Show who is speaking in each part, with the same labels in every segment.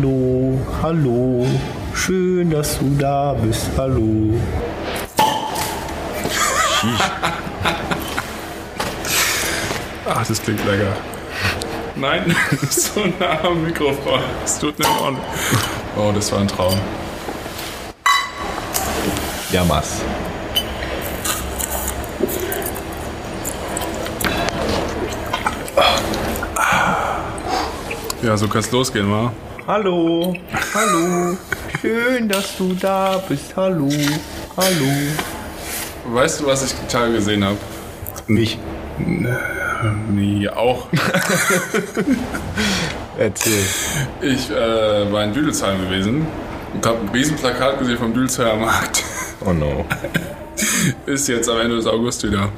Speaker 1: Hallo, hallo, schön, dass du da bist, hallo.
Speaker 2: Ach, das klingt lecker. Nein, so nah am Mikrofon. Es tut mir leid. Oh, das war ein Traum.
Speaker 3: Ja, was?
Speaker 2: Ja, so kann's losgehen, wa?
Speaker 1: Hallo, hallo, schön, dass du da bist, hallo, hallo.
Speaker 2: Weißt du, was ich total gesehen habe?
Speaker 3: Mich.
Speaker 2: Nee, auch.
Speaker 3: Erzähl.
Speaker 2: Ich äh, war in Düdelsheim gewesen und habe ein Riesenplakat gesehen vom Düdelsheimer Markt.
Speaker 3: Oh no.
Speaker 2: Ist jetzt am Ende des August wieder.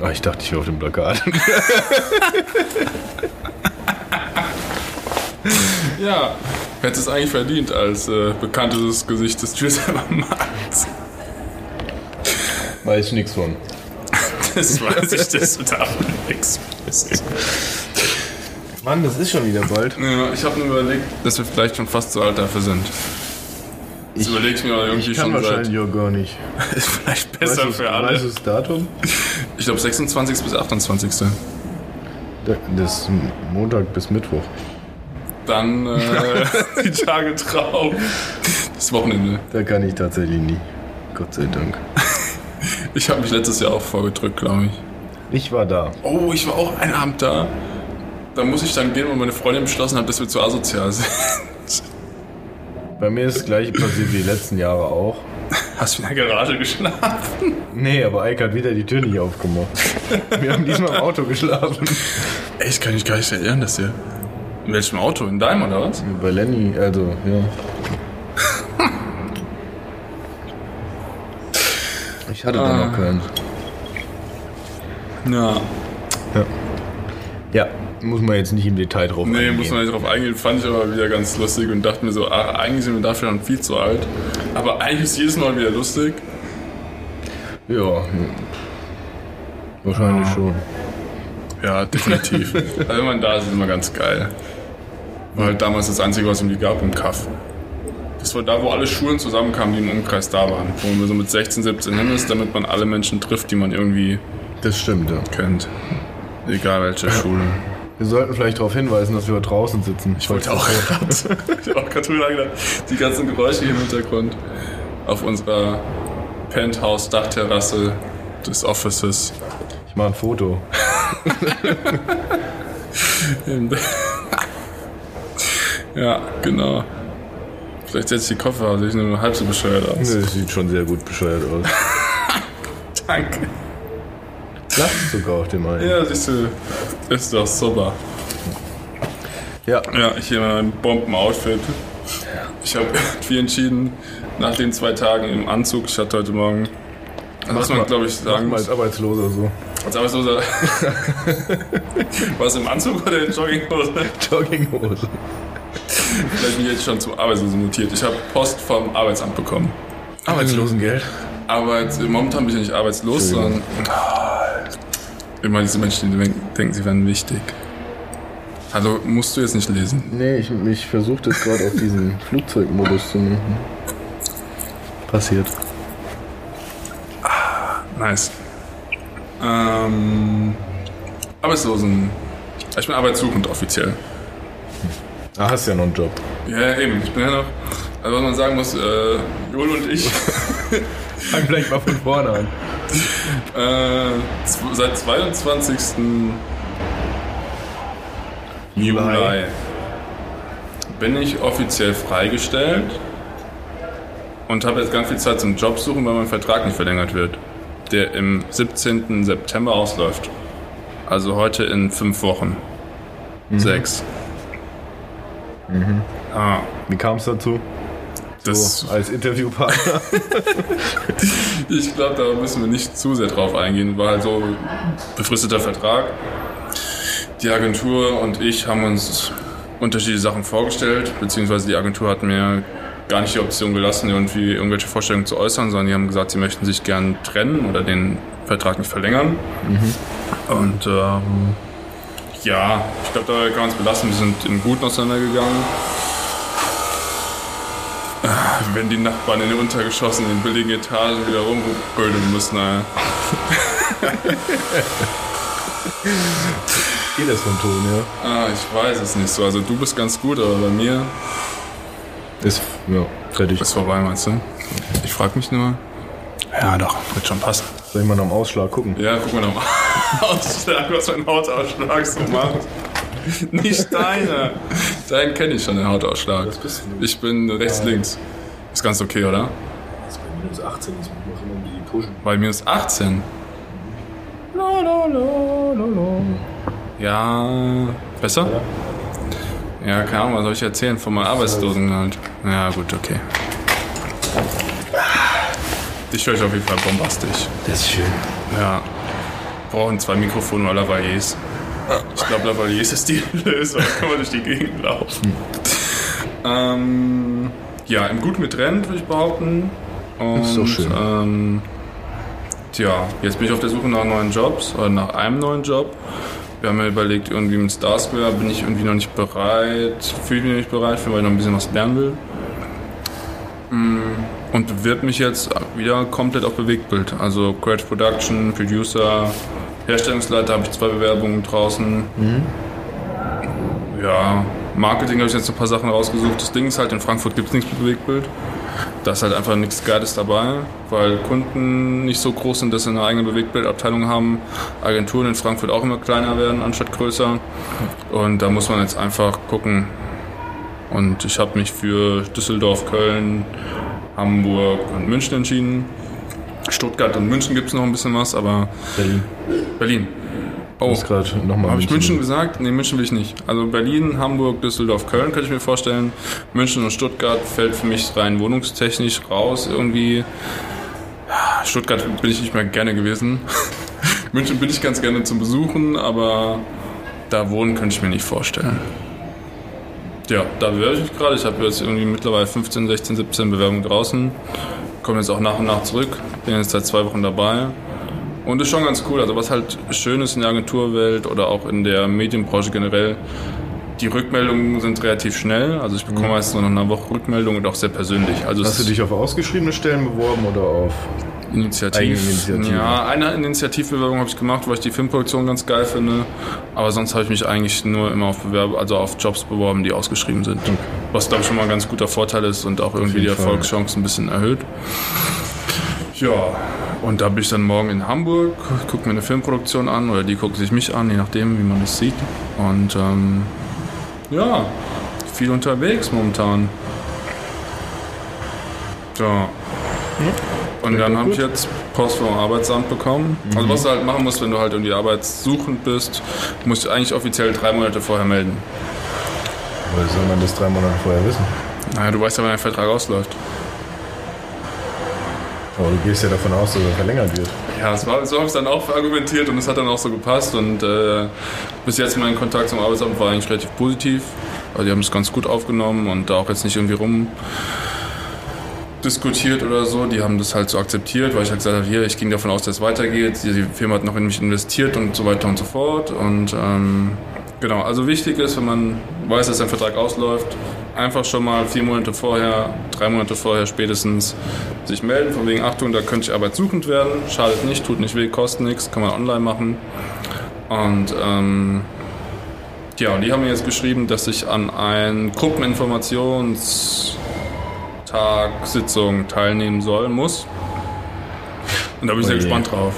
Speaker 3: Ah, ich dachte, ich wäre auf dem Plakat.
Speaker 2: Ja, hätte es eigentlich verdient als äh, bekanntes Gesicht des Düdelsheimer Markts.
Speaker 3: Weiß nichts von.
Speaker 2: Das weiß ich, dass du davon nichts bist.
Speaker 3: Mann, das ist schon wieder bald.
Speaker 2: Ja, ich habe mir überlegt, dass wir vielleicht schon fast zu alt dafür sind. Das
Speaker 3: Ich-
Speaker 2: überlege ich mir aber irgendwie
Speaker 3: Ich kann
Speaker 2: schon seit.
Speaker 3: wahrscheinlich auch gar nicht.
Speaker 2: Ist vielleicht besser
Speaker 3: du's-
Speaker 2: für alle.
Speaker 3: Weißt du das Datum?
Speaker 2: Ich glaube 26. bis 28.
Speaker 3: Da- Das ist Montag bis Mittwoch.
Speaker 2: Dann äh, die Tage drauf. Das Wochenende.
Speaker 3: Da kann ich tatsächlich nie. Gott sei Dank.
Speaker 2: Ich habe mich letztes Jahr auch vorgedrückt, glaube ich.
Speaker 3: Ich war da.
Speaker 2: Oh, ich war auch einen Abend da. Da muss ich dann gehen, weil meine Freundin beschlossen hat, dass wir zu asozial sind.
Speaker 3: Bei mir ist das gleiche passiert wie die letzten Jahre auch.
Speaker 2: Hast du in der Garage geschlafen?
Speaker 3: Nee, aber Eike hat wieder die Tür nicht aufgemacht. Wir haben diesmal im Auto geschlafen.
Speaker 2: Ey, ich kann mich gar nicht erinnern, dass ihr. In welchem Auto? In deinem oder was?
Speaker 3: Bei Lenny, also, ja. Ich hatte da noch keinen.
Speaker 2: Ja.
Speaker 3: Ja, muss man jetzt nicht im Detail drauf
Speaker 2: Nee,
Speaker 3: eingehen.
Speaker 2: muss man nicht drauf eingehen. Fand ich aber wieder ganz lustig und dachte mir so, ach, eigentlich sind wir dafür schon viel zu alt. Aber eigentlich ist jedes Mal wieder lustig.
Speaker 3: Ja. hm. Wahrscheinlich schon.
Speaker 2: Ja, definitiv. also wenn man da ist, ist immer ganz geil. War halt damals das Einzige, was es irgendwie gab, im Kaff. Das war da, wo alle Schulen zusammenkamen, die im Umkreis da waren. Wo man so mit 16, 17 hin ist, damit man alle Menschen trifft, die man irgendwie
Speaker 3: Das stimmt, ja.
Speaker 2: kennt. Egal welche Schule.
Speaker 3: Wir sollten vielleicht darauf hinweisen, dass wir draußen sitzen.
Speaker 2: Ich wollte auch gerade. ich hab auch gerade drüber gedacht. Die ganzen Geräusche hier im Hintergrund. Auf unserer Penthouse-Dachterrasse des Offices.
Speaker 3: Ich mache ein Foto.
Speaker 2: ja, genau. Vielleicht setze ich die Koffer, also ich nur noch halb so bescheuert aus.
Speaker 3: Das sieht schon sehr gut bescheuert aus.
Speaker 2: Danke.
Speaker 3: Lacht sogar auf dem einen.
Speaker 2: Ja, siehst du, ist doch super.
Speaker 3: Ja.
Speaker 2: Ja, ich hier in meinem Bomben-Outfit. Ich habe irgendwie entschieden, nach den zwei Tagen im Anzug, ich hatte heute Morgen, was man glaube ich sagen
Speaker 3: mal
Speaker 2: muss,
Speaker 3: als Arbeitsloser so.
Speaker 2: als Arbeitsloser, was im Anzug oder in Jogginghose?
Speaker 3: Jogginghose.
Speaker 2: Vielleicht bin ich jetzt schon zum Arbeitslosen mutiert. Ich habe Post vom Arbeitsamt bekommen.
Speaker 3: Arbeitslosengeld.
Speaker 2: Arbeit, momentan bin ich ja nicht arbeitslos, sondern Ah, immer diese Menschen, die denken, denken, sie wären wichtig. Also musst du jetzt nicht lesen.
Speaker 3: Nee, ich, ich versuche das gerade auf diesen Flugzeugmodus zu machen. Passiert.
Speaker 2: Nice. Ähm, Arbeitslosen. Ich bin arbeitssuchend offiziell.
Speaker 3: Ah, hast ja noch einen Job.
Speaker 2: Ja, eben. Ich bin ja noch. Also was man sagen muss, äh, Jol und ich
Speaker 3: Fang vielleicht mal von vorne an.
Speaker 2: äh, zw- seit 22. Juli bin ich offiziell freigestellt und habe jetzt ganz viel Zeit zum Job suchen, weil mein Vertrag nicht verlängert wird, der im 17. September ausläuft. Also heute in fünf Wochen. Sechs. Ah,
Speaker 3: Wie kam es dazu?
Speaker 2: das,
Speaker 3: So, als Interviewpartner.
Speaker 2: Ich glaube, da müssen wir nicht zu sehr drauf eingehen, war halt so befristeter Vertrag. Die Agentur und ich haben uns unterschiedliche Sachen vorgestellt, beziehungsweise die Agentur hat mir gar nicht die Option gelassen, irgendwie irgendwelche Vorstellungen zu äußern, sondern die haben gesagt, sie möchten sich gern trennen oder den Vertrag nicht verlängern. Und ähm, ja, ich glaube, dabei kann man es belassen. Wir sind im Guten auseinandergegangen. Wenn die Nachbarn in den Untergeschossen in billigen Etagen wieder rumrödeln müssen, Alter.
Speaker 3: Geht das vom Ton, ja?
Speaker 2: Ah, ich weiß es nicht so. Also du bist ganz gut, aber bei mir
Speaker 3: Ist, ja, fertig.
Speaker 2: ist vorbei, meinst du? Ich frag mich nur. Ja, doch, wird schon passen.
Speaker 3: Soll ich mal noch am Ausschlag gucken?
Speaker 2: Ja, guck mal nochmal. Ausschlag, was für ein Hautausschlag so macht. Nicht deiner. Deinen kenne ich schon, den Hautausschlag.
Speaker 3: Was bist du?
Speaker 2: Ich bin rechts-links. Ist ganz okay, oder?
Speaker 3: Das ist bei minus 18, ich muss immer um die pushen.
Speaker 2: Bei mir ist 18. La, la, la, la, la. Ja, besser? Ja, keine Ahnung, was soll ich erzählen von meinen Arbeitslosen halt? Ja, gut, okay. Ich höre ich auf jeden Fall bombastisch.
Speaker 3: Das ist schön.
Speaker 2: Ja. Brauchen zwei Mikrofone oder Lavaliers. Ich glaube, Lavaliers ist die Lösung. Kann man durch die Gegend laufen. ähm, ja, im guten Getrennt, würde ich behaupten. Und,
Speaker 3: ist doch schön.
Speaker 2: Ähm, tja, jetzt bin ich auf der Suche nach neuen Jobs oder nach einem neuen Job. Wir haben mir überlegt, irgendwie mit Starsquare bin ich irgendwie noch nicht bereit, fühle ich mich noch nicht bereit, für, weil ich noch ein bisschen was lernen will. Mm, Und bewirb mich jetzt wieder komplett auf Bewegtbild. Also Creative Production, Producer, Herstellungsleiter habe ich zwei Bewerbungen draußen. Ja, Marketing habe ich jetzt ein paar Sachen rausgesucht. Das Ding ist halt, in Frankfurt gibt es nichts mit Bewegtbild. Da ist halt einfach nichts Geiles dabei, weil Kunden nicht so groß sind, dass sie eine eigene Bewegtbildabteilung haben. Agenturen in Frankfurt auch immer kleiner werden anstatt größer. Und da muss man jetzt einfach gucken. Und ich habe mich für Düsseldorf, Köln, Hamburg und München entschieden. Stuttgart und München gibt es noch ein bisschen was, aber
Speaker 3: Berlin.
Speaker 2: Berlin. Oh,
Speaker 3: Ist gerade nochmal.
Speaker 2: habe ich München gesagt? Nee, München will ich nicht. Also Berlin, Hamburg, Düsseldorf, Köln könnte ich mir vorstellen. München und Stuttgart fällt für mich rein wohnungstechnisch raus irgendwie. Stuttgart bin ich nicht mehr gerne gewesen. München bin ich ganz gerne zum Besuchen, aber da wohnen könnte ich mir nicht vorstellen. Ja, da bewerbe ich mich gerade. Ich habe jetzt irgendwie mittlerweile 15, 16, 17 Bewerbungen draußen. Komme jetzt auch nach und nach zurück. Bin jetzt seit zwei Wochen dabei. Und ist schon ganz cool. Also was halt schön ist in der Agenturwelt oder auch in der Medienbranche generell, die Rückmeldungen sind relativ schnell. Also ich bekomme meistens nur nach einer Woche Rückmeldung und auch sehr persönlich. Also
Speaker 3: Mhm. Hast
Speaker 2: es
Speaker 3: du dich auf ausgeschriebene Stellen beworben oder auf.
Speaker 2: Initiativ.
Speaker 3: Eigeninitiative.
Speaker 2: Ja, eine Initiativbewerbung habe ich gemacht, weil ich die Filmproduktion ganz geil finde. Aber sonst habe ich mich eigentlich nur immer auf Bewerb also auf Jobs beworben, die ausgeschrieben sind. Was glaube ich schon mal ein ganz guter Vorteil ist und auch irgendwie die
Speaker 3: jeden Fall.
Speaker 2: Erfolgschancen ein bisschen erhöht. Ja, und da bin ich dann morgen in Hamburg, gucke mir eine Filmproduktion an oder die gucken sich mich an, je nachdem, wie man es sieht. Und ähm, ja, viel unterwegs momentan. Ja. Und dann habe ich jetzt Post vom Arbeitsamt bekommen. Also was du halt machen musst, wenn du halt irgendwie arbeitssuchend bist, musst du eigentlich offiziell drei Monate vorher melden.
Speaker 3: Weil soll man das drei Monate vorher wissen?
Speaker 2: Naja, du weißt ja, wann dein Vertrag ausläuft.
Speaker 3: Aber du gehst ja davon aus, dass er verlängert wird.
Speaker 2: Ja, das war, so habe ich dann auch argumentiert und es hat dann auch so gepasst. Und äh, bis jetzt mein Kontakt zum Arbeitsamt war eigentlich relativ positiv. Also die haben es ganz gut aufgenommen und da auch jetzt nicht irgendwie rum diskutiert oder so. Die haben das halt so akzeptiert, weil ich halt gesagt habe, hier, ich ging davon aus, dass es weitergeht. Die, die Firma hat noch in mich investiert und so weiter und so fort. Und ähm, genau, also wichtig ist, wenn man weiß, dass ein Vertrag ausläuft, einfach schon mal vier Monate vorher, drei Monate vorher spätestens sich melden, von wegen Achtung, da könnte ich arbeitssuchend werden. Schadet nicht, tut nicht weh, kostet nichts, kann man online machen. Und ähm, ja, und die haben mir jetzt geschrieben, dass ich an ein Gruppeninformations... Tag, Sitzung teilnehmen soll, muss. Und da bin ich sehr
Speaker 3: Oje.
Speaker 2: gespannt drauf.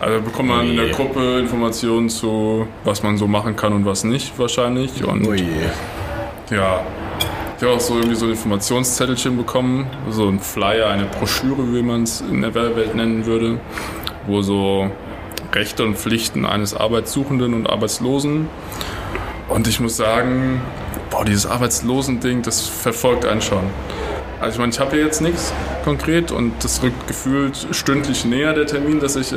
Speaker 2: Also bekommt man in der
Speaker 3: Oje.
Speaker 2: Gruppe Informationen zu, was man so machen kann und was nicht wahrscheinlich. Und
Speaker 3: Oh je.
Speaker 2: ja, ich habe auch so irgendwie so ein Informationszettelchen bekommen, so ein Flyer, eine Broschüre, wie man es in der Welt nennen würde, wo so Rechte und Pflichten eines Arbeitssuchenden und Arbeitslosen. Und ich muss sagen, boah, dieses Arbeitslosending, das verfolgt einen schon. Also ich meine, ich habe hier jetzt nichts konkret und das rückt gefühlt stündlich näher der Termin, dass ich äh,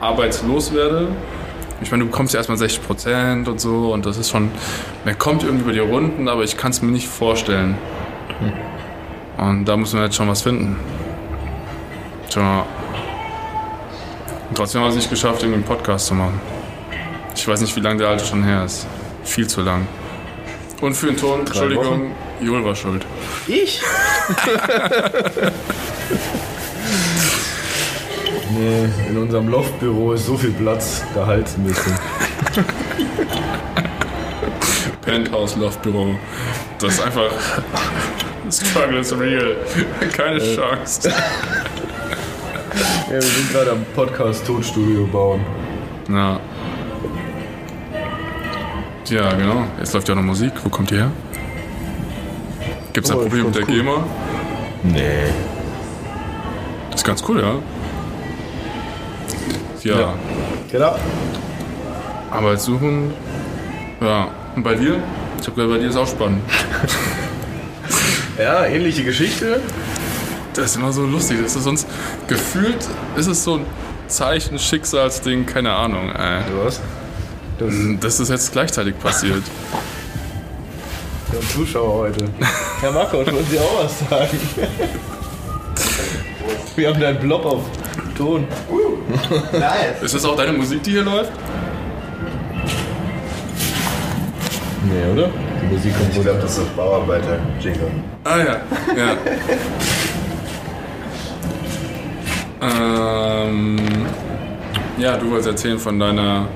Speaker 2: arbeitslos werde. Ich meine, du bekommst ja erstmal 60 Prozent und so und das ist schon, man kommt irgendwie über die Runden, aber ich kann es mir nicht vorstellen. Und da muss man jetzt schon was finden. Tja. Und trotzdem haben wir es nicht geschafft, irgendwie einen Podcast zu machen. Ich weiß nicht, wie lange der alte schon her ist. Viel zu lang. Und für den Ton, Entschuldigung, Jul war schuld.
Speaker 1: Ich?
Speaker 3: Nee, in unserem Loftbüro ist so viel Platz, da halt's ein bisschen.
Speaker 2: Penthouse Love Büro. Das ist einfach. Struggle is real. Keine Chance.
Speaker 3: Ja, wir sind gerade am Podcast Tonstudio bauen.
Speaker 2: Na. Tja, genau. Jetzt läuft ja noch Musik. Wo kommt die her? Gibt's da
Speaker 3: Oh,
Speaker 2: ein
Speaker 3: das
Speaker 2: Problem mit der
Speaker 3: ist ganz cool.
Speaker 2: GEMA?
Speaker 3: Nee.
Speaker 2: Das ist ganz cool, ja. Ja,
Speaker 3: Ja. Genau.
Speaker 2: Arbeit suchen. Ja. Und bei dir? Ich habe gehört, bei dir ist auch spannend.
Speaker 3: Ja, ähnliche Geschichte.
Speaker 2: Das ist immer so lustig. Das ist uns gefühlt, ist es so ein Zeichen, Schicksalsding, keine Ahnung. Ey.
Speaker 3: Was? Das ist
Speaker 2: Das ist jetzt gleichzeitig passiert.
Speaker 3: der Zuschauer heute. Herr Marco, wollen Sie auch was sagen? Wir haben deinen Blob auf Ton.
Speaker 2: ist das auch deine Musik, die hier läuft?
Speaker 3: Nee, oder? Die Musik kommt
Speaker 4: Ich glaube, das ist Bauarbeiter. Jingle.
Speaker 2: Ah ja, ja. ähm, ja, du wolltest erzählen von deiner.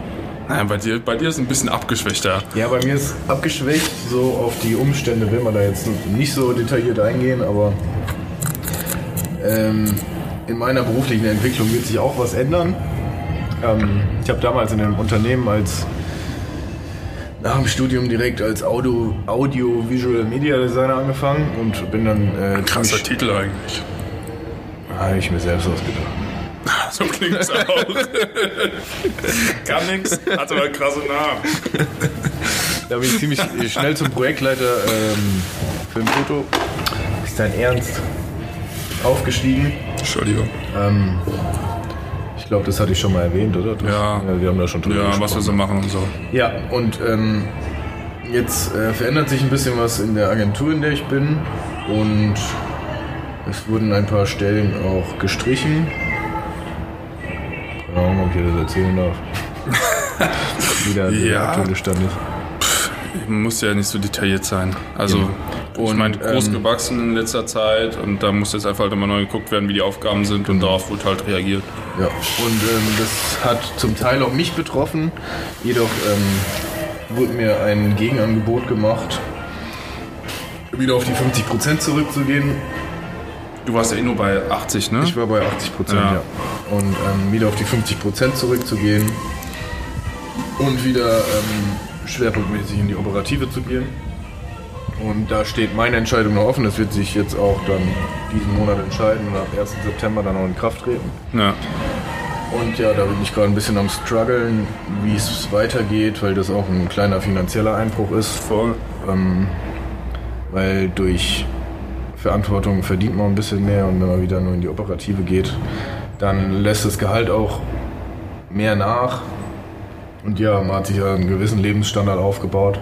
Speaker 2: Nein, bei dir, bei dir ist ein bisschen abgeschwächter.
Speaker 3: Ja, bei mir ist abgeschwächt, so auf die Umstände will man da jetzt nicht so detailliert eingehen, aber ähm, in meiner beruflichen Entwicklung wird sich auch was ändern. Ähm, ich habe damals in einem Unternehmen als nach dem Studium direkt als Audio, Audio-Visual Media Designer angefangen und bin dann äh,
Speaker 2: Krasser
Speaker 3: ziemlich-
Speaker 2: Titel eigentlich.
Speaker 3: Ah, hab ich mir selbst ausgedacht.
Speaker 2: So klingt es auch. Kann nix, hat aber einen krassen Namen.
Speaker 3: Da bin ich ziemlich äh, schnell zum Projektleiter ähm, für ein Foto. Ist dein Ernst? Aufgestiegen.
Speaker 2: Entschuldigung.
Speaker 3: Ähm, ich glaube, das hatte ich schon mal erwähnt, oder? Das,
Speaker 2: Ja.
Speaker 3: Wir haben da schon drüber
Speaker 2: Ja,
Speaker 3: gesprochen.
Speaker 2: was wir so machen und so.
Speaker 3: Ja, und ähm, jetzt äh, verändert sich ein bisschen was in der Agentur, in der ich bin. Und es wurden ein paar Stellen auch gestrichen. Keine Ahnung, ob ich dir das erzählen darf. Wieder
Speaker 2: Ja.
Speaker 3: der aktuelle Stand ist.
Speaker 2: Muss ja nicht so detailliert sein. Also, ich
Speaker 3: Und,
Speaker 2: meine, groß
Speaker 3: ähm,
Speaker 2: gewachsen in letzter Zeit und da muss jetzt einfach halt immer neu geguckt werden, wie die Aufgaben sind und darauf wird halt reagiert.
Speaker 3: Ja, und ähm, das hat zum Teil auch mich betroffen. Jedoch ähm, wurde mir ein Gegenangebot gemacht, wieder auf die 50% zurückzugehen.
Speaker 2: Du warst ja eh nur bei 80, ne?
Speaker 3: Ich war bei 80%, ja.
Speaker 2: Ja.
Speaker 3: Und ähm, wieder auf die 50% zurückzugehen und wieder ähm, schwerpunktmäßig in die Operative zu gehen. Und da steht meine Entscheidung noch offen. Das wird sich jetzt auch dann diesen Monat entscheiden und ab 1. September dann auch in Kraft treten.
Speaker 2: ja.
Speaker 3: Und ja, da bin ich gerade ein bisschen am struggeln, wie es weitergeht, weil das auch ein kleiner finanzieller Einbruch ist,
Speaker 2: Voll.
Speaker 3: ähm, weil durch Verantwortung verdient man ein bisschen mehr und wenn man wieder nur in die Operative geht, dann lässt das Gehalt auch mehr nach. Und ja, man hat sich ja einen gewissen Lebensstandard aufgebaut,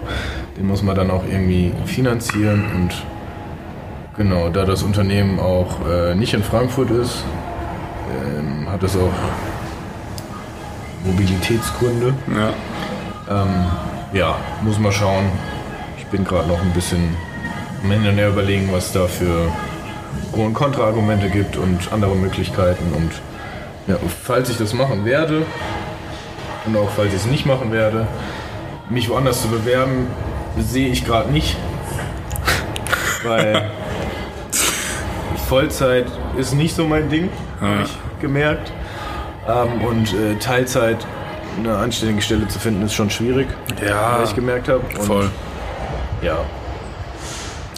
Speaker 3: den muss man dann auch irgendwie finanzieren und genau, da das Unternehmen auch äh, nicht in Frankfurt ist, ähm, hat es auch Mobilitätsgründe.
Speaker 2: Ja.
Speaker 3: Ähm, ja, muss mal schauen. Ich bin gerade noch ein bisschen am Ende näher überlegen, was da für Pro- und Kontraargumente gibt und andere Möglichkeiten. Und ja, falls ich das machen werde und auch falls ich es nicht machen werde, mich woanders zu bewerben, sehe ich gerade nicht. Weil Vollzeit ist nicht so mein Ding,
Speaker 2: Ja.
Speaker 3: habe ich gemerkt. Ähm, und äh, Teilzeit eine anständige Stelle zu finden, ist schon schwierig,
Speaker 2: Ja.
Speaker 3: weil ich gemerkt habe. Und
Speaker 2: Ah. Voll.
Speaker 3: Ja.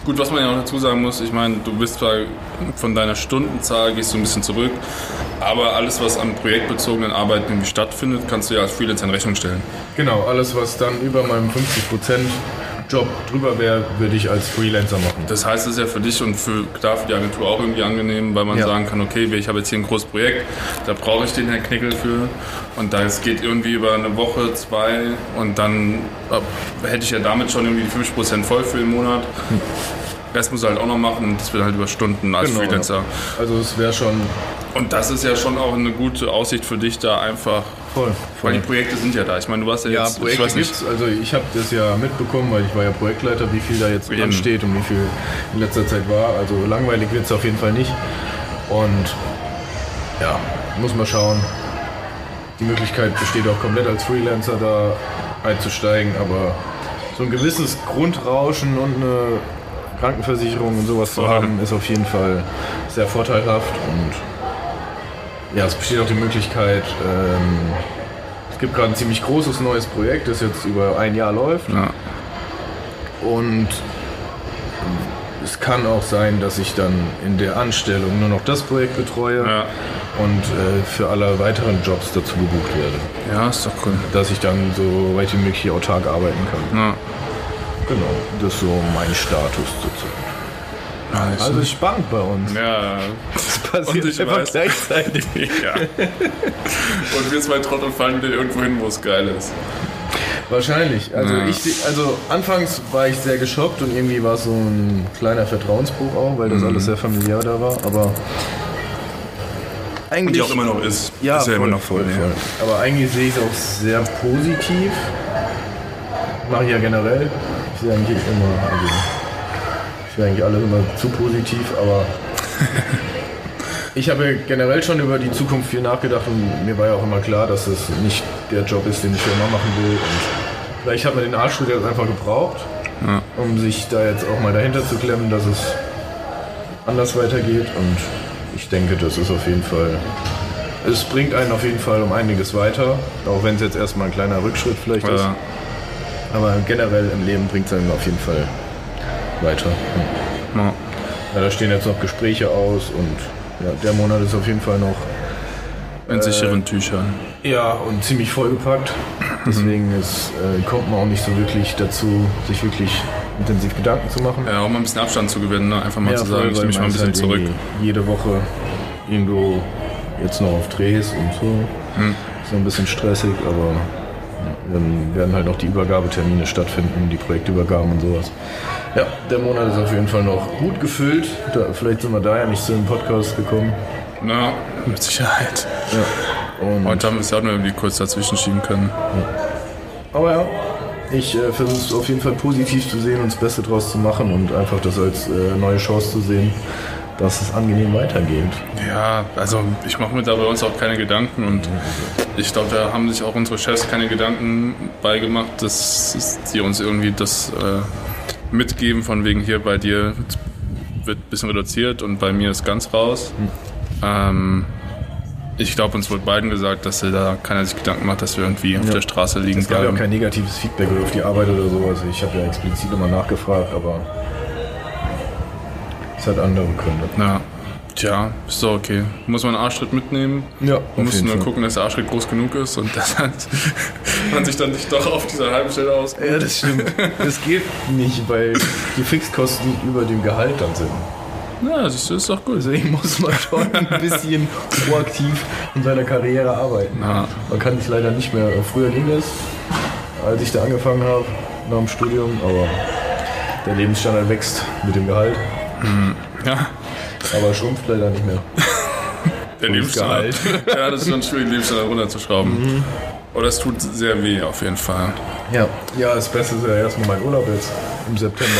Speaker 2: Gut, was man ja auch dazu sagen muss, ich meine, du bist zwar von deiner Stundenzahl gehst du ein bisschen zurück, aber alles, was an projektbezogenen Arbeiten irgendwie stattfindet, kannst du ja als Freelancer in Rechnung stellen.
Speaker 3: Genau, alles, was dann über meinem 50% Job drüber wäre, würde ich als Freelancer machen.
Speaker 2: Das heißt, es ist ja für dich und für, klar für die Agentur auch irgendwie angenehm, weil man
Speaker 3: Ja.
Speaker 2: sagen kann, okay, ich habe jetzt hier ein großes Projekt, da brauche ich den Herrn Knickel für. Und da es geht irgendwie über eine Woche, zwei und dann äh, hätte ich ja damit schon irgendwie die 50% voll für den Monat. Das muss er halt auch noch machen, das wird halt über Stunden als
Speaker 3: Hm. Genau,
Speaker 2: Freelancer.
Speaker 3: Also es wäre schon
Speaker 2: Und das ist ja schon auch eine gute Aussicht für dich da einfach.
Speaker 3: Voll.
Speaker 2: Weil die Projekte sind ja da. Ich meine, du warst ja
Speaker 3: Ja,
Speaker 2: jetzt, ich
Speaker 3: Projekte
Speaker 2: weiß nicht,
Speaker 3: gibt's. Also ich habe das ja mitbekommen, weil ich war ja Projektleiter, wie viel da jetzt
Speaker 2: Eben.
Speaker 3: ansteht und wie viel in letzter Zeit war. Also langweilig wird's auf jeden Fall nicht. Und ja, muss man schauen. Die Möglichkeit besteht auch komplett als Freelancer da einzusteigen, aber so ein gewisses Grundrauschen und eine Krankenversicherung und sowas zu
Speaker 2: Voll.
Speaker 3: haben, ist auf jeden Fall sehr vorteilhaft und ja, es besteht auch die Möglichkeit, ähm, es gibt gerade ein ziemlich großes neues Projekt, das jetzt über ein Jahr läuft.
Speaker 2: Ja.
Speaker 3: Und es kann auch sein, dass ich dann in der Anstellung nur noch das Projekt betreue
Speaker 2: Ja.
Speaker 3: und äh, für alle weiteren Jobs dazu gebucht werde.
Speaker 2: ja, ist doch cool.
Speaker 3: Dass ich dann so weit wie möglich autark arbeiten kann.
Speaker 2: Ja.
Speaker 3: Genau, das ist so mein Status sozusagen. Also ist spannend bei uns.
Speaker 2: ja,
Speaker 3: Das
Speaker 2: Und ich weiß-
Speaker 3: gleichzeitig.
Speaker 2: ja. Und wir zwei Trottel fallen wieder irgendwo hin, wo es geil ist.
Speaker 3: Wahrscheinlich. Also
Speaker 2: Ja.
Speaker 3: ich also anfangs war ich sehr geschockt und irgendwie war es so ein kleiner Vertrauensbruch auch, weil
Speaker 2: Mhm.
Speaker 3: das alles sehr familiär da war, aber
Speaker 2: Und
Speaker 3: eigentlich
Speaker 2: die auch immer noch ist.
Speaker 3: ja,
Speaker 2: ist ja
Speaker 3: voll,
Speaker 2: immer noch voll. ja.
Speaker 3: Aber eigentlich sehe ich es auch sehr positiv. Mache ich ja generell. Ich sehe eigentlich immer, also ich sehe eigentlich alles immer zu positiv, aber ich habe generell schon über die Zukunft viel nachgedacht und mir war ja auch immer klar, dass es nicht der Job ist, den ich schon immer machen will. Und vielleicht hat man den Arschtritt jetzt einfach gebraucht, um sich da jetzt auch mal dahinter zu klemmen, dass es anders weitergeht und ich denke, das ist auf jeden Fall es bringt einen auf jeden Fall um einiges weiter, auch wenn es jetzt erstmal ein kleiner Rückschritt vielleicht ist.
Speaker 2: Ja.
Speaker 3: Aber generell im Leben bringt es einen auf jeden Fall weiter. Hm.
Speaker 2: Ja.
Speaker 3: Ja, da stehen jetzt noch Gespräche aus und ja, der Monat ist auf jeden Fall noch Äh,
Speaker 2: In äh, sicheren Tüchern.
Speaker 3: ja und ziemlich vollgepackt.
Speaker 2: Mhm.
Speaker 3: Deswegen ist, äh, kommt man auch nicht so wirklich dazu, sich wirklich intensiv Gedanken zu machen.
Speaker 2: Ja, um ein bisschen Abstand zu gewinnen, ne? einfach mal zu sagen,
Speaker 3: voll,
Speaker 2: ich
Speaker 3: weil
Speaker 2: nehme mich mal
Speaker 3: man
Speaker 2: ein
Speaker 3: ist
Speaker 2: bisschen zurück.
Speaker 3: halt irgendwie Jede Woche irgendwo jetzt noch auf Drehs und so.
Speaker 2: Mhm.
Speaker 3: Ist noch ein bisschen stressig, aber dann werden halt noch die Übergabetermine stattfinden, die Projektübergaben und sowas. Ja, der Monat ist auf jeden Fall noch gut gefüllt. Da, vielleicht sind wir daher nicht zu dem Podcast gekommen.
Speaker 2: Na, mit Sicherheit.
Speaker 3: Ja. Und,
Speaker 2: Heute haben wir es ja auch nur irgendwie kurz dazwischen schieben können.
Speaker 3: aber ja, ich äh, versuche es auf jeden Fall positiv zu sehen und das Beste draus zu machen und einfach das als äh, neue Chance zu sehen, dass es angenehm weitergeht.
Speaker 2: Ja, also ich mache mir da bei uns auch keine Gedanken und ich glaube, da haben sich auch unsere Chefs keine Gedanken beigemacht, dass dass die uns irgendwie das äh, mitgeben von wegen hier bei dir wird ein bisschen reduziert und bei mir ist ganz raus.
Speaker 3: Hm.
Speaker 2: Ähm, ich glaube, uns wurde beiden gesagt, dass da keiner sich Gedanken macht, dass wir irgendwie auf der Straße liegen
Speaker 3: Es gab ja auch
Speaker 2: bleiben.
Speaker 3: kein negatives Feedback oder auf die Arbeit oder so. Also ich habe ja explizit immer nachgefragt, aber es hat andere Gründe.
Speaker 2: Ja. Tja, ist doch okay. Muss man einen Arschtritt mitnehmen.
Speaker 3: Ja, auf
Speaker 2: Man muss
Speaker 3: jeden
Speaker 2: nur
Speaker 3: Fall.
Speaker 2: gucken, dass der Arschtritt groß genug ist und dass halt man sich dann nicht doch auf dieser halben Stelle aus.
Speaker 3: Ja, das stimmt. das geht nicht, weil die Fixkosten über dem Gehalt dann sind.
Speaker 2: Na, das ist doch gut.
Speaker 3: Deswegen muss man schon ein bisschen proaktiv in seiner Karriere arbeiten.
Speaker 2: Ja.
Speaker 3: Man kann sich leider nicht mehr. äh, Früher ging das, als ich da angefangen habe, nach dem Studium, aber der Lebensstandard wächst mit dem Gehalt,
Speaker 2: Ja,
Speaker 3: aber schrumpft leider nicht mehr.
Speaker 2: der Lebensstandard. Ja, das ist schon schwierig, den Lebensstandard runterzuschrauben.
Speaker 3: Mhm.
Speaker 2: Oder es tut sehr weh auf jeden Fall.
Speaker 3: Ja. Ja, das Beste ist ja erstmal mein Urlaub jetzt im September.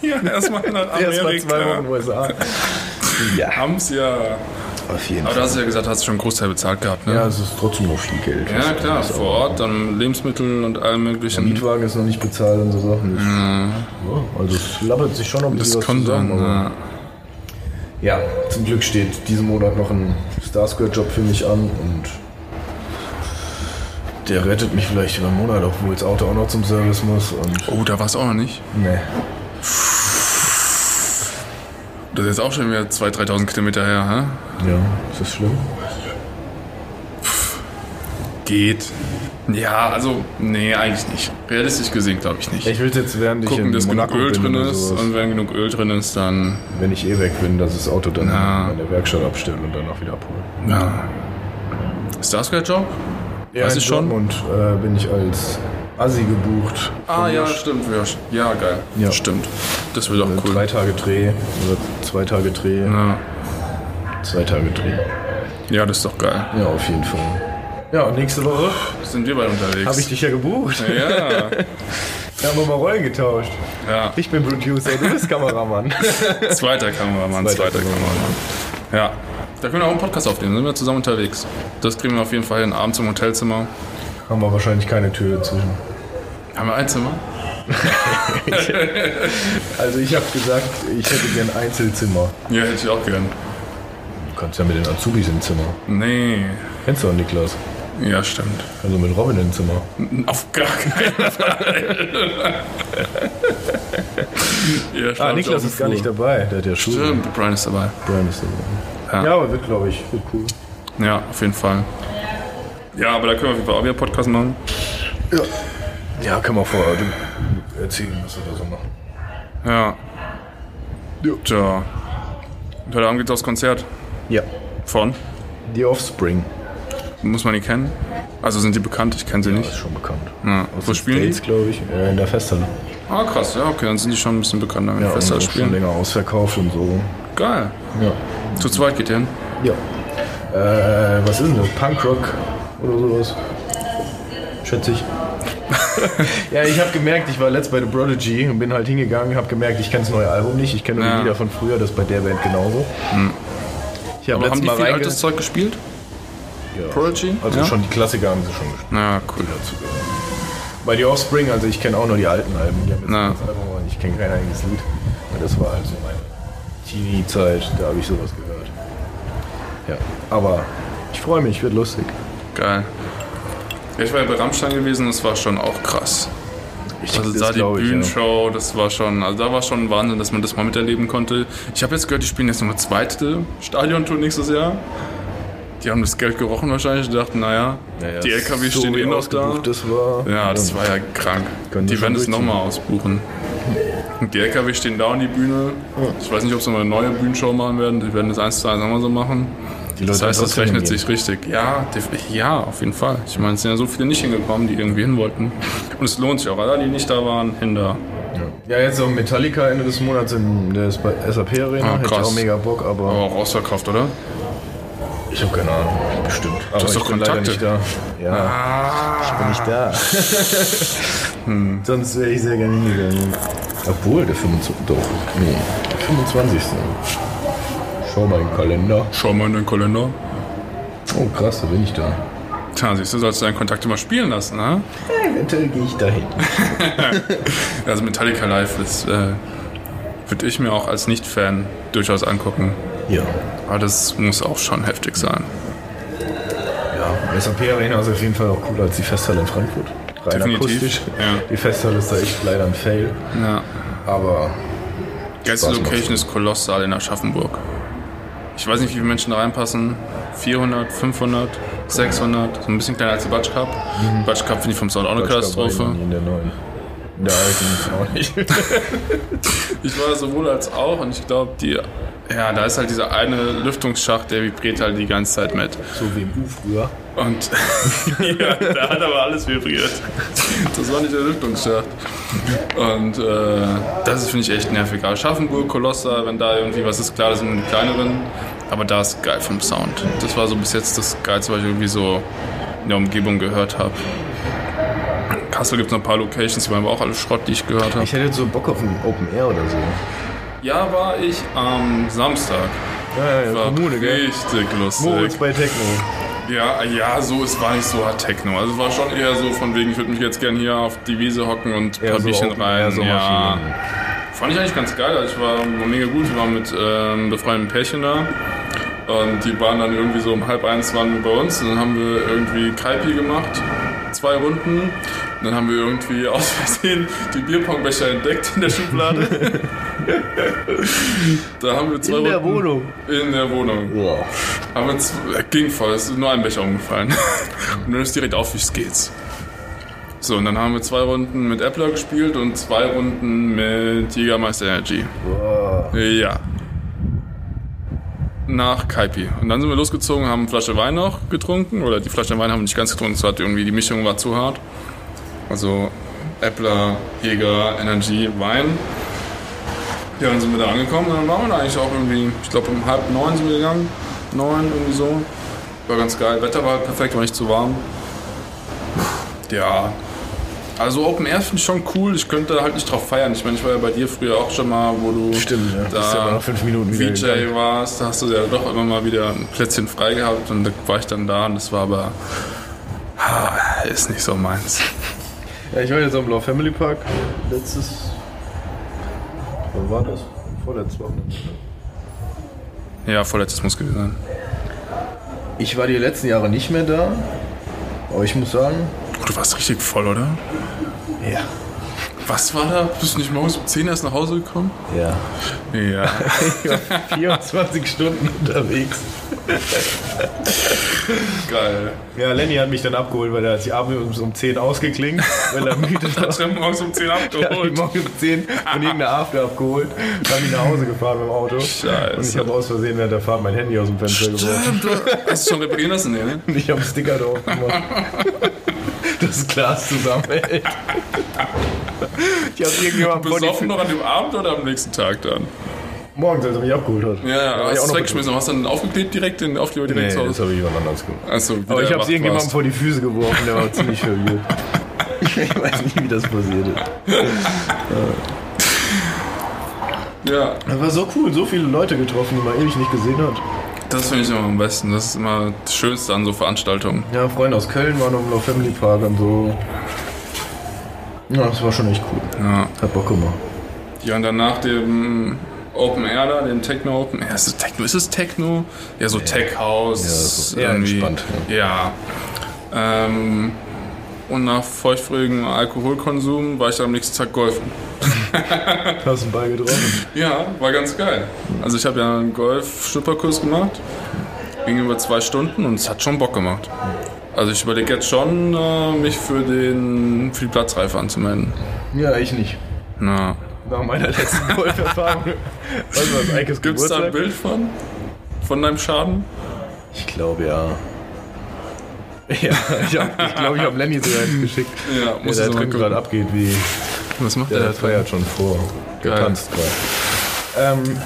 Speaker 2: Ja, erstmal nach
Speaker 3: Erstmal zwei
Speaker 2: Amerika.
Speaker 3: Wochen USA. Ja.
Speaker 2: Haben's ja.
Speaker 3: Auf jeden
Speaker 2: Aber du hast ja gesagt, hast schon einen Großteil bezahlt gehabt, ne?
Speaker 3: Ja, es ist trotzdem noch viel Geld.
Speaker 2: Ja, klar, vor Ort, dann Lebensmittel und allem möglichen.
Speaker 3: Mietwagen ist noch nicht bezahlt und so Sachen. Ja, also es lappert sich schon noch ein bisschen
Speaker 2: Das
Speaker 3: was
Speaker 2: kommt
Speaker 3: zusammen.
Speaker 2: dann.
Speaker 3: aber-
Speaker 2: Ja.
Speaker 3: Ja, zum Glück steht diesen Monat noch ein Starsquare-Job für mich an und der rettet mich vielleicht über einen Monat, obwohl das Auto auch noch zum Service muss und
Speaker 2: Oh, da war's auch noch nicht.
Speaker 3: ne.
Speaker 2: Das ist jetzt auch schon wieder 2.000, 3.000 Kilometer her,
Speaker 3: Ja, ist das schlimm?
Speaker 2: hä? Geht. Ja, also, nee, eigentlich nicht. Realistisch gesehen glaube ich nicht.
Speaker 3: Ich will jetzt während ich
Speaker 2: Gucken,
Speaker 3: in
Speaker 2: dass genug
Speaker 3: Monaco
Speaker 2: Öl
Speaker 3: bin
Speaker 2: drin
Speaker 3: oder
Speaker 2: ist
Speaker 3: sowas,
Speaker 2: und wenn genug Öl drin ist, dann
Speaker 3: wenn ich eh weg bin, dass das Auto dann
Speaker 2: Na.
Speaker 3: in der Werkstatt abstellen und dann auch wieder abholen.
Speaker 2: Ja. Ist das der Job?
Speaker 3: Ja,
Speaker 2: Weiß
Speaker 3: in
Speaker 2: ich schon.
Speaker 3: Dortmund äh, bin ich als Assi gebucht.
Speaker 2: Ah, ja, stimmt. Ja, sch- ja geil.
Speaker 3: Ja. Äh,
Speaker 2: Stimmt. Das wird auch
Speaker 3: Drei also
Speaker 2: cool.
Speaker 3: Tage Dreh oder zwei Tage Dreh,
Speaker 2: Ja.
Speaker 3: zwei Tage Dreh.
Speaker 2: Ja, das ist doch geil.
Speaker 3: Ja, auf jeden Fall. Ja, und nächste Woche
Speaker 2: Sind wir bald unterwegs.
Speaker 3: habe ich dich ja gebucht.
Speaker 2: Ja,
Speaker 3: Wir haben wir mal Rollen getauscht.
Speaker 2: ja.
Speaker 3: Ich bin Producer, du bist Kameramann.
Speaker 2: Zweiter Kameramann, zweiter,
Speaker 3: Zweiter
Speaker 2: Kameramann. Ja. Da können wir auch einen Podcast aufnehmen, sind wir zusammen unterwegs. Das kriegen wir auf jeden Fall hin, abends im Hotelzimmer.
Speaker 3: haben wir wahrscheinlich keine Tür dazwischen.
Speaker 2: Haben wir ein Zimmer?
Speaker 3: Also ich habe gesagt, ich hätte gern Einzelzimmer.
Speaker 2: Ja, hätte ich auch gern.
Speaker 3: Du kannst ja mit den Azubis im Zimmer.
Speaker 2: Nee.
Speaker 3: Kennst du auch Niklas?
Speaker 2: Ja, stimmt.
Speaker 3: Also mit Robin im Zimmer.
Speaker 2: Auf gar keinen Fall. ja,
Speaker 3: Ah,
Speaker 2: stand
Speaker 3: Niklas
Speaker 2: auf dem
Speaker 3: ist gar nicht
Speaker 2: Flur.
Speaker 3: dabei. Der hat ja Schuhe.
Speaker 2: Stimmt, Brian ist dabei.
Speaker 3: Brian ist
Speaker 2: Ja.
Speaker 3: dabei. Ja, aber wird, glaube ich, wird cool.
Speaker 2: Ja, auf jeden Fall. Ja, aber da können wir auf jeden Fall auch wieder Podcast machen.
Speaker 3: Ja, kann man vorher erzählen, was wir da so machen.
Speaker 2: Ja.
Speaker 3: Ja.
Speaker 2: Tja. Und heute Abend geht's aufs Konzert.
Speaker 3: Ja.
Speaker 2: Von?
Speaker 3: Die Offspring.
Speaker 2: Muss man die kennen? Also sind die bekannt? Ich kenne sie
Speaker 3: Das
Speaker 2: nicht.
Speaker 3: ist schon bekannt.
Speaker 2: Ja. Wo spielen die?
Speaker 3: glaube ich. Äh, in der Festhalle.
Speaker 2: Ah, krass. Ja, okay, dann sind die schon ein bisschen bekannter, wenn ja,
Speaker 3: und
Speaker 2: Festival
Speaker 3: auch schon
Speaker 2: spielen.
Speaker 3: länger ausverkauft und so.
Speaker 2: Geil.
Speaker 3: Ja.
Speaker 2: Zu zweit geht ihr hin.
Speaker 3: Ja. Äh, was ist denn das? Punkrock oder sowas? Schätze ich. ja, ich habe gemerkt, ich war letzt bei The Prodigy und bin halt hingegangen, habe gemerkt, ich kenne das neue Album nicht, ich kenne nur
Speaker 2: Ja.
Speaker 3: die Lieder von früher, das ist bei der Band genauso. Ich
Speaker 2: Aber
Speaker 3: habe
Speaker 2: haben
Speaker 3: letztes
Speaker 2: die
Speaker 3: Mal
Speaker 2: viel
Speaker 3: reinge...
Speaker 2: altes Zeug gespielt?
Speaker 3: Ja.
Speaker 2: Prodigy?
Speaker 3: Also
Speaker 2: ja?
Speaker 3: schon die Klassiker haben sie schon gespielt.
Speaker 2: Na, cool.
Speaker 3: Bei die Offspring, also ich kenne auch nur die alten Alben, die haben jetzt
Speaker 2: Na.
Speaker 3: ein neues Album, aber ich kenne kein einziges Lied. Und das war also meine Teenie-Zeit, da habe ich sowas gehört. Ja, aber ich freue mich, wird lustig.
Speaker 2: Geil. Ja, ich war ja bei Rammstein gewesen, das war schon auch krass.
Speaker 3: Ich
Speaker 2: Also da die
Speaker 3: glaub ja.
Speaker 2: Bühnenshow, das war schon, also da war schon Wahnsinn, dass man das mal miterleben konnte. Ich habe jetzt gehört, die spielen jetzt nochmal zweite Stadiontour nächstes Jahr. Die haben das Geld gerochen wahrscheinlich, die dachten, naja,
Speaker 3: Naja,
Speaker 2: die LKW
Speaker 3: so
Speaker 2: stehen
Speaker 3: wie
Speaker 2: eh noch da.
Speaker 3: ausgebucht Das war.
Speaker 2: Ja, das war ja krank.
Speaker 3: Können
Speaker 2: die
Speaker 3: die
Speaker 2: werden
Speaker 3: schon
Speaker 2: es nochmal ausbuchen. Und die LKW stehen da und die Bühne. Ich weiß nicht, ob sie mal eine neue Bühnenshow machen werden. Die werden das eins zu eins nochmal so machen.
Speaker 3: Die
Speaker 2: Das
Speaker 3: Leute
Speaker 2: heißt, das
Speaker 3: trotzdem
Speaker 2: rechnet
Speaker 3: hingehen.
Speaker 2: sich richtig. Ja, def- ja, auf jeden Fall. Ich meine, es sind ja so viele nicht hingekommen, die irgendwie hin wollten. Und es lohnt sich auch. Alle, die nicht da waren, hin da.
Speaker 3: Ja, jetzt auch Metallica Ende des Monats in der SAP Arena.
Speaker 2: Ah,
Speaker 3: Hätte ich
Speaker 2: krass.
Speaker 3: auch mega Bock, aber
Speaker 2: Aber auch ausverkauft, Oh, oder?
Speaker 3: ich habe keine Ahnung. Bestimmt. Aber
Speaker 2: Oh. hast
Speaker 3: ich
Speaker 2: doch
Speaker 3: bin leider
Speaker 2: Kontakte.
Speaker 3: nicht da. Ja,
Speaker 2: Ah.
Speaker 3: bin ich da. Sonst wäre ich sehr gerne hingegangen. Obwohl, der 25. Doch, nee, der 25. Schau mal im Kalender.
Speaker 2: Schau mal in den Kalender.
Speaker 3: Oh krass, da bin ich da.
Speaker 2: Tja, siehst du, sollst du deinen Kontakt immer spielen lassen, ne?
Speaker 3: Eventuell gehe ich dahin.
Speaker 2: Also Metallica Live ist, äh, würde ich mir auch als Nicht-Fan durchaus angucken.
Speaker 3: Ja.
Speaker 2: Aber das muss auch schon heftig sein.
Speaker 3: Ja, SAP Arena ist auf jeden Fall auch cooler als die Festhalle in Frankfurt. Rein
Speaker 2: Definitiv,
Speaker 3: akustisch.
Speaker 2: ja.
Speaker 3: Die Festhalle ist da echt leider ein Fail.
Speaker 2: Ja.
Speaker 3: Aber
Speaker 2: Geilste
Speaker 3: Spaß macht's.
Speaker 2: Location ist Kolossal in Aschaffenburg. Ich weiß nicht, wie viele Menschen da reinpassen. 400, 500, 600. So ein bisschen kleiner als die Batsch Cup. Batsch Cup finde ich vom Sound auch eine Katastrophe.
Speaker 3: In der neuen. In der alten ist auch nicht.
Speaker 2: Ich war sowohl als auch und ich glaube, die. Ja, da ist halt dieser eine Lüftungsschacht, der vibriert halt die ganze Zeit mit.
Speaker 3: So wie im U früher.
Speaker 2: Und ja, da hat aber alles vibriert. Das war nicht der Lüftungsschacht. Und äh, das ist, finde ich, echt nervig. Aber Schaffenburg, Kolossa, wenn da irgendwie was ist, klar, das sind die kleineren. Aber da ist geil vom Sound. Das war so bis jetzt das Geilste, was ich irgendwie so in der Umgebung gehört habe. In Kassel gibt es noch ein paar Locations, die waren aber auch alle Schrott, die ich gehört habe.
Speaker 3: Ich hätte so Bock auf ein Open Air oder so.
Speaker 2: Ja, war ich am Samstag.
Speaker 3: Ja, ja,
Speaker 2: War
Speaker 3: Kommune, gell?
Speaker 2: richtig lustig.
Speaker 3: Moritz bei Techno.
Speaker 2: Ja, ja, so, es war nicht so hart Techno. Also es war schon eher so von wegen, ich würde mich jetzt gern hier auf die Wiese hocken und ein
Speaker 3: Ja,
Speaker 2: paar
Speaker 3: so
Speaker 2: Bierchen
Speaker 3: Also Open
Speaker 2: rein.
Speaker 3: Air, so
Speaker 2: ja.
Speaker 3: Maschinen.
Speaker 2: Fand ich eigentlich ganz geil. Also ich war mega gut. Wir waren mit ähm, befreundeten Pärchen da. Und die waren dann irgendwie so um halb eins waren wir bei uns. Und dann haben wir irgendwie Kaipi gemacht. Zwei Runden. Und dann haben wir irgendwie aus Versehen die Bierpongbecher entdeckt in der Schublade. da haben wir zwei
Speaker 3: In der
Speaker 2: Runden.
Speaker 3: Wohnung.
Speaker 2: In der Wohnung.
Speaker 3: Boah.
Speaker 2: Aber es ging voll, es ist nur ein Becher umgefallen. und dann ist direkt auf, wie es geht. So, und dann haben wir zwei Runden mit Appler gespielt und zwei Runden mit Jägermeister Energy. Ja. Nach Kaipi. Und dann sind wir losgezogen, haben eine Flasche Wein noch getrunken. Oder die Flasche Wein haben wir nicht ganz getrunken, es hat irgendwie, die Mischung war zu hart. Also Appler, Jäger, Energy, Wein. Ja, dann sind wir da angekommen und dann waren wir da eigentlich auch irgendwie, ich glaube um halb neun sind wir gegangen. Neun, irgendwie so. War ganz geil. Wetter war halt perfekt, war nicht zu warm. Ja. Also Open Air finde ich schon cool. Ich könnte halt nicht drauf feiern. Ich meine, ich war ja bei dir früher auch schon mal, wo du
Speaker 3: Stimmt, ja. Bist ja
Speaker 2: da
Speaker 3: aber nach fünf Minuten wieder
Speaker 2: VJ
Speaker 3: gegangen.
Speaker 2: warst. Da hast du ja doch immer mal wieder ein Plätzchen frei gehabt und da war ich dann da und das war aber ah, ist nicht so meins.
Speaker 3: Ja, ich war jetzt am Blau Family Park letztes. Wann war das? Vorletztes Wochenende.
Speaker 2: Ja, vorletztes muss gewesen sein.
Speaker 3: Ich war die letzten Jahre nicht mehr da. Aber ich muss sagen.
Speaker 2: Oh, du warst richtig voll, oder?
Speaker 3: Ja.
Speaker 2: Was war da? Bist du nicht morgens um 10 erst nach Hause gekommen?
Speaker 3: Ja.
Speaker 2: Ja.
Speaker 3: Ich war 24 Stunden unterwegs.
Speaker 2: Geil.
Speaker 3: Ja, Lenny hat mich dann abgeholt, weil er hat sich abends um 10 ausgeklingt, weil er müde war.
Speaker 2: Hat er morgens um 10
Speaker 3: Er hat mich
Speaker 2: abgeholt.
Speaker 3: morgens um 10 von irgendeiner After abgeholt und hat mich nach Hause gefahren mit dem Auto.
Speaker 2: Scheiße.
Speaker 3: Und ich habe aus Versehen während der Fahrt mein Handy aus dem Fenster geworfen.
Speaker 2: Hast du schon reparieren lassen? Nee, ne?
Speaker 3: Und ich habe einen Sticker drauf gemacht. Das Glas zusammenhält. Ich habe irgendjemand vor die
Speaker 2: Besoffen noch an dem Abend oder am nächsten Tag dann?
Speaker 3: Morgens, als er mich abgeholt hat.
Speaker 2: Ja, ja,
Speaker 3: war ich
Speaker 2: hast
Speaker 3: auch
Speaker 2: du
Speaker 3: noch
Speaker 2: weggeschmissen. Hast du dann aufgeklebt direkt, den Aufkleber direkt
Speaker 3: Nee,
Speaker 2: zu
Speaker 3: das
Speaker 2: Hause?
Speaker 3: habe ich jemand anders gemacht.
Speaker 2: Achso, wie
Speaker 3: Aber
Speaker 2: der
Speaker 3: ich habe es
Speaker 2: wach
Speaker 3: irgendjemandem
Speaker 2: warst.
Speaker 3: vor die Füße geworfen, der war ziemlich verwirrt. Ich weiß nicht, wie das passiert ist.
Speaker 2: Ja,
Speaker 3: Das war so cool, so viele Leute getroffen, die man ewig nicht gesehen hat.
Speaker 2: das finde ich immer am besten. Das ist immer das Schönste an so Veranstaltungen.
Speaker 3: Ja, Freunde aus Köln waren im Love Family Park und so. Ja, das war schon echt cool.
Speaker 2: Ja.
Speaker 3: Hat Bock gemacht.
Speaker 2: Ja, und dann nach dem Open Air da, dem Techno Open Air. Ist es Techno? Ist es Techno? Ja, so Tech House.
Speaker 3: Ja, so eher
Speaker 2: irgendwie.
Speaker 3: entspannt,
Speaker 2: Ja. Ähm, und nach feuchtfrühem Alkoholkonsum war ich dann am nächsten Tag golfen.
Speaker 3: Hast einen Ball getroffen.
Speaker 2: Ja, war ganz geil. Also ich habe ja einen Golf-Schnupperkurs gemacht. Ging über zwei Stunden und es hat schon Bock gemacht. Also ich überlege jetzt schon, äh, mich für den für die Platzreife anzumelden.
Speaker 3: Ja, ich nicht.
Speaker 2: Na.
Speaker 3: Nach meiner letzten Golferfahrung. Weißt du, was Eikes
Speaker 2: Gibt es da ein
Speaker 3: Geburtstag?
Speaker 2: Bild von? Von deinem Schaden?
Speaker 3: Ich glaube ja. Ja, ich glaube, ich, glaub, ich habe Lenny sogar eins geschickt.
Speaker 2: Ja,
Speaker 3: Ja,
Speaker 2: muss
Speaker 3: der
Speaker 2: ich
Speaker 3: da
Speaker 2: mal
Speaker 3: drin gerade
Speaker 2: gucken.
Speaker 3: abgeht, wie.
Speaker 2: Was macht
Speaker 3: Der
Speaker 2: der?
Speaker 3: feiert schon vor. Getanzt gerade. Ähm,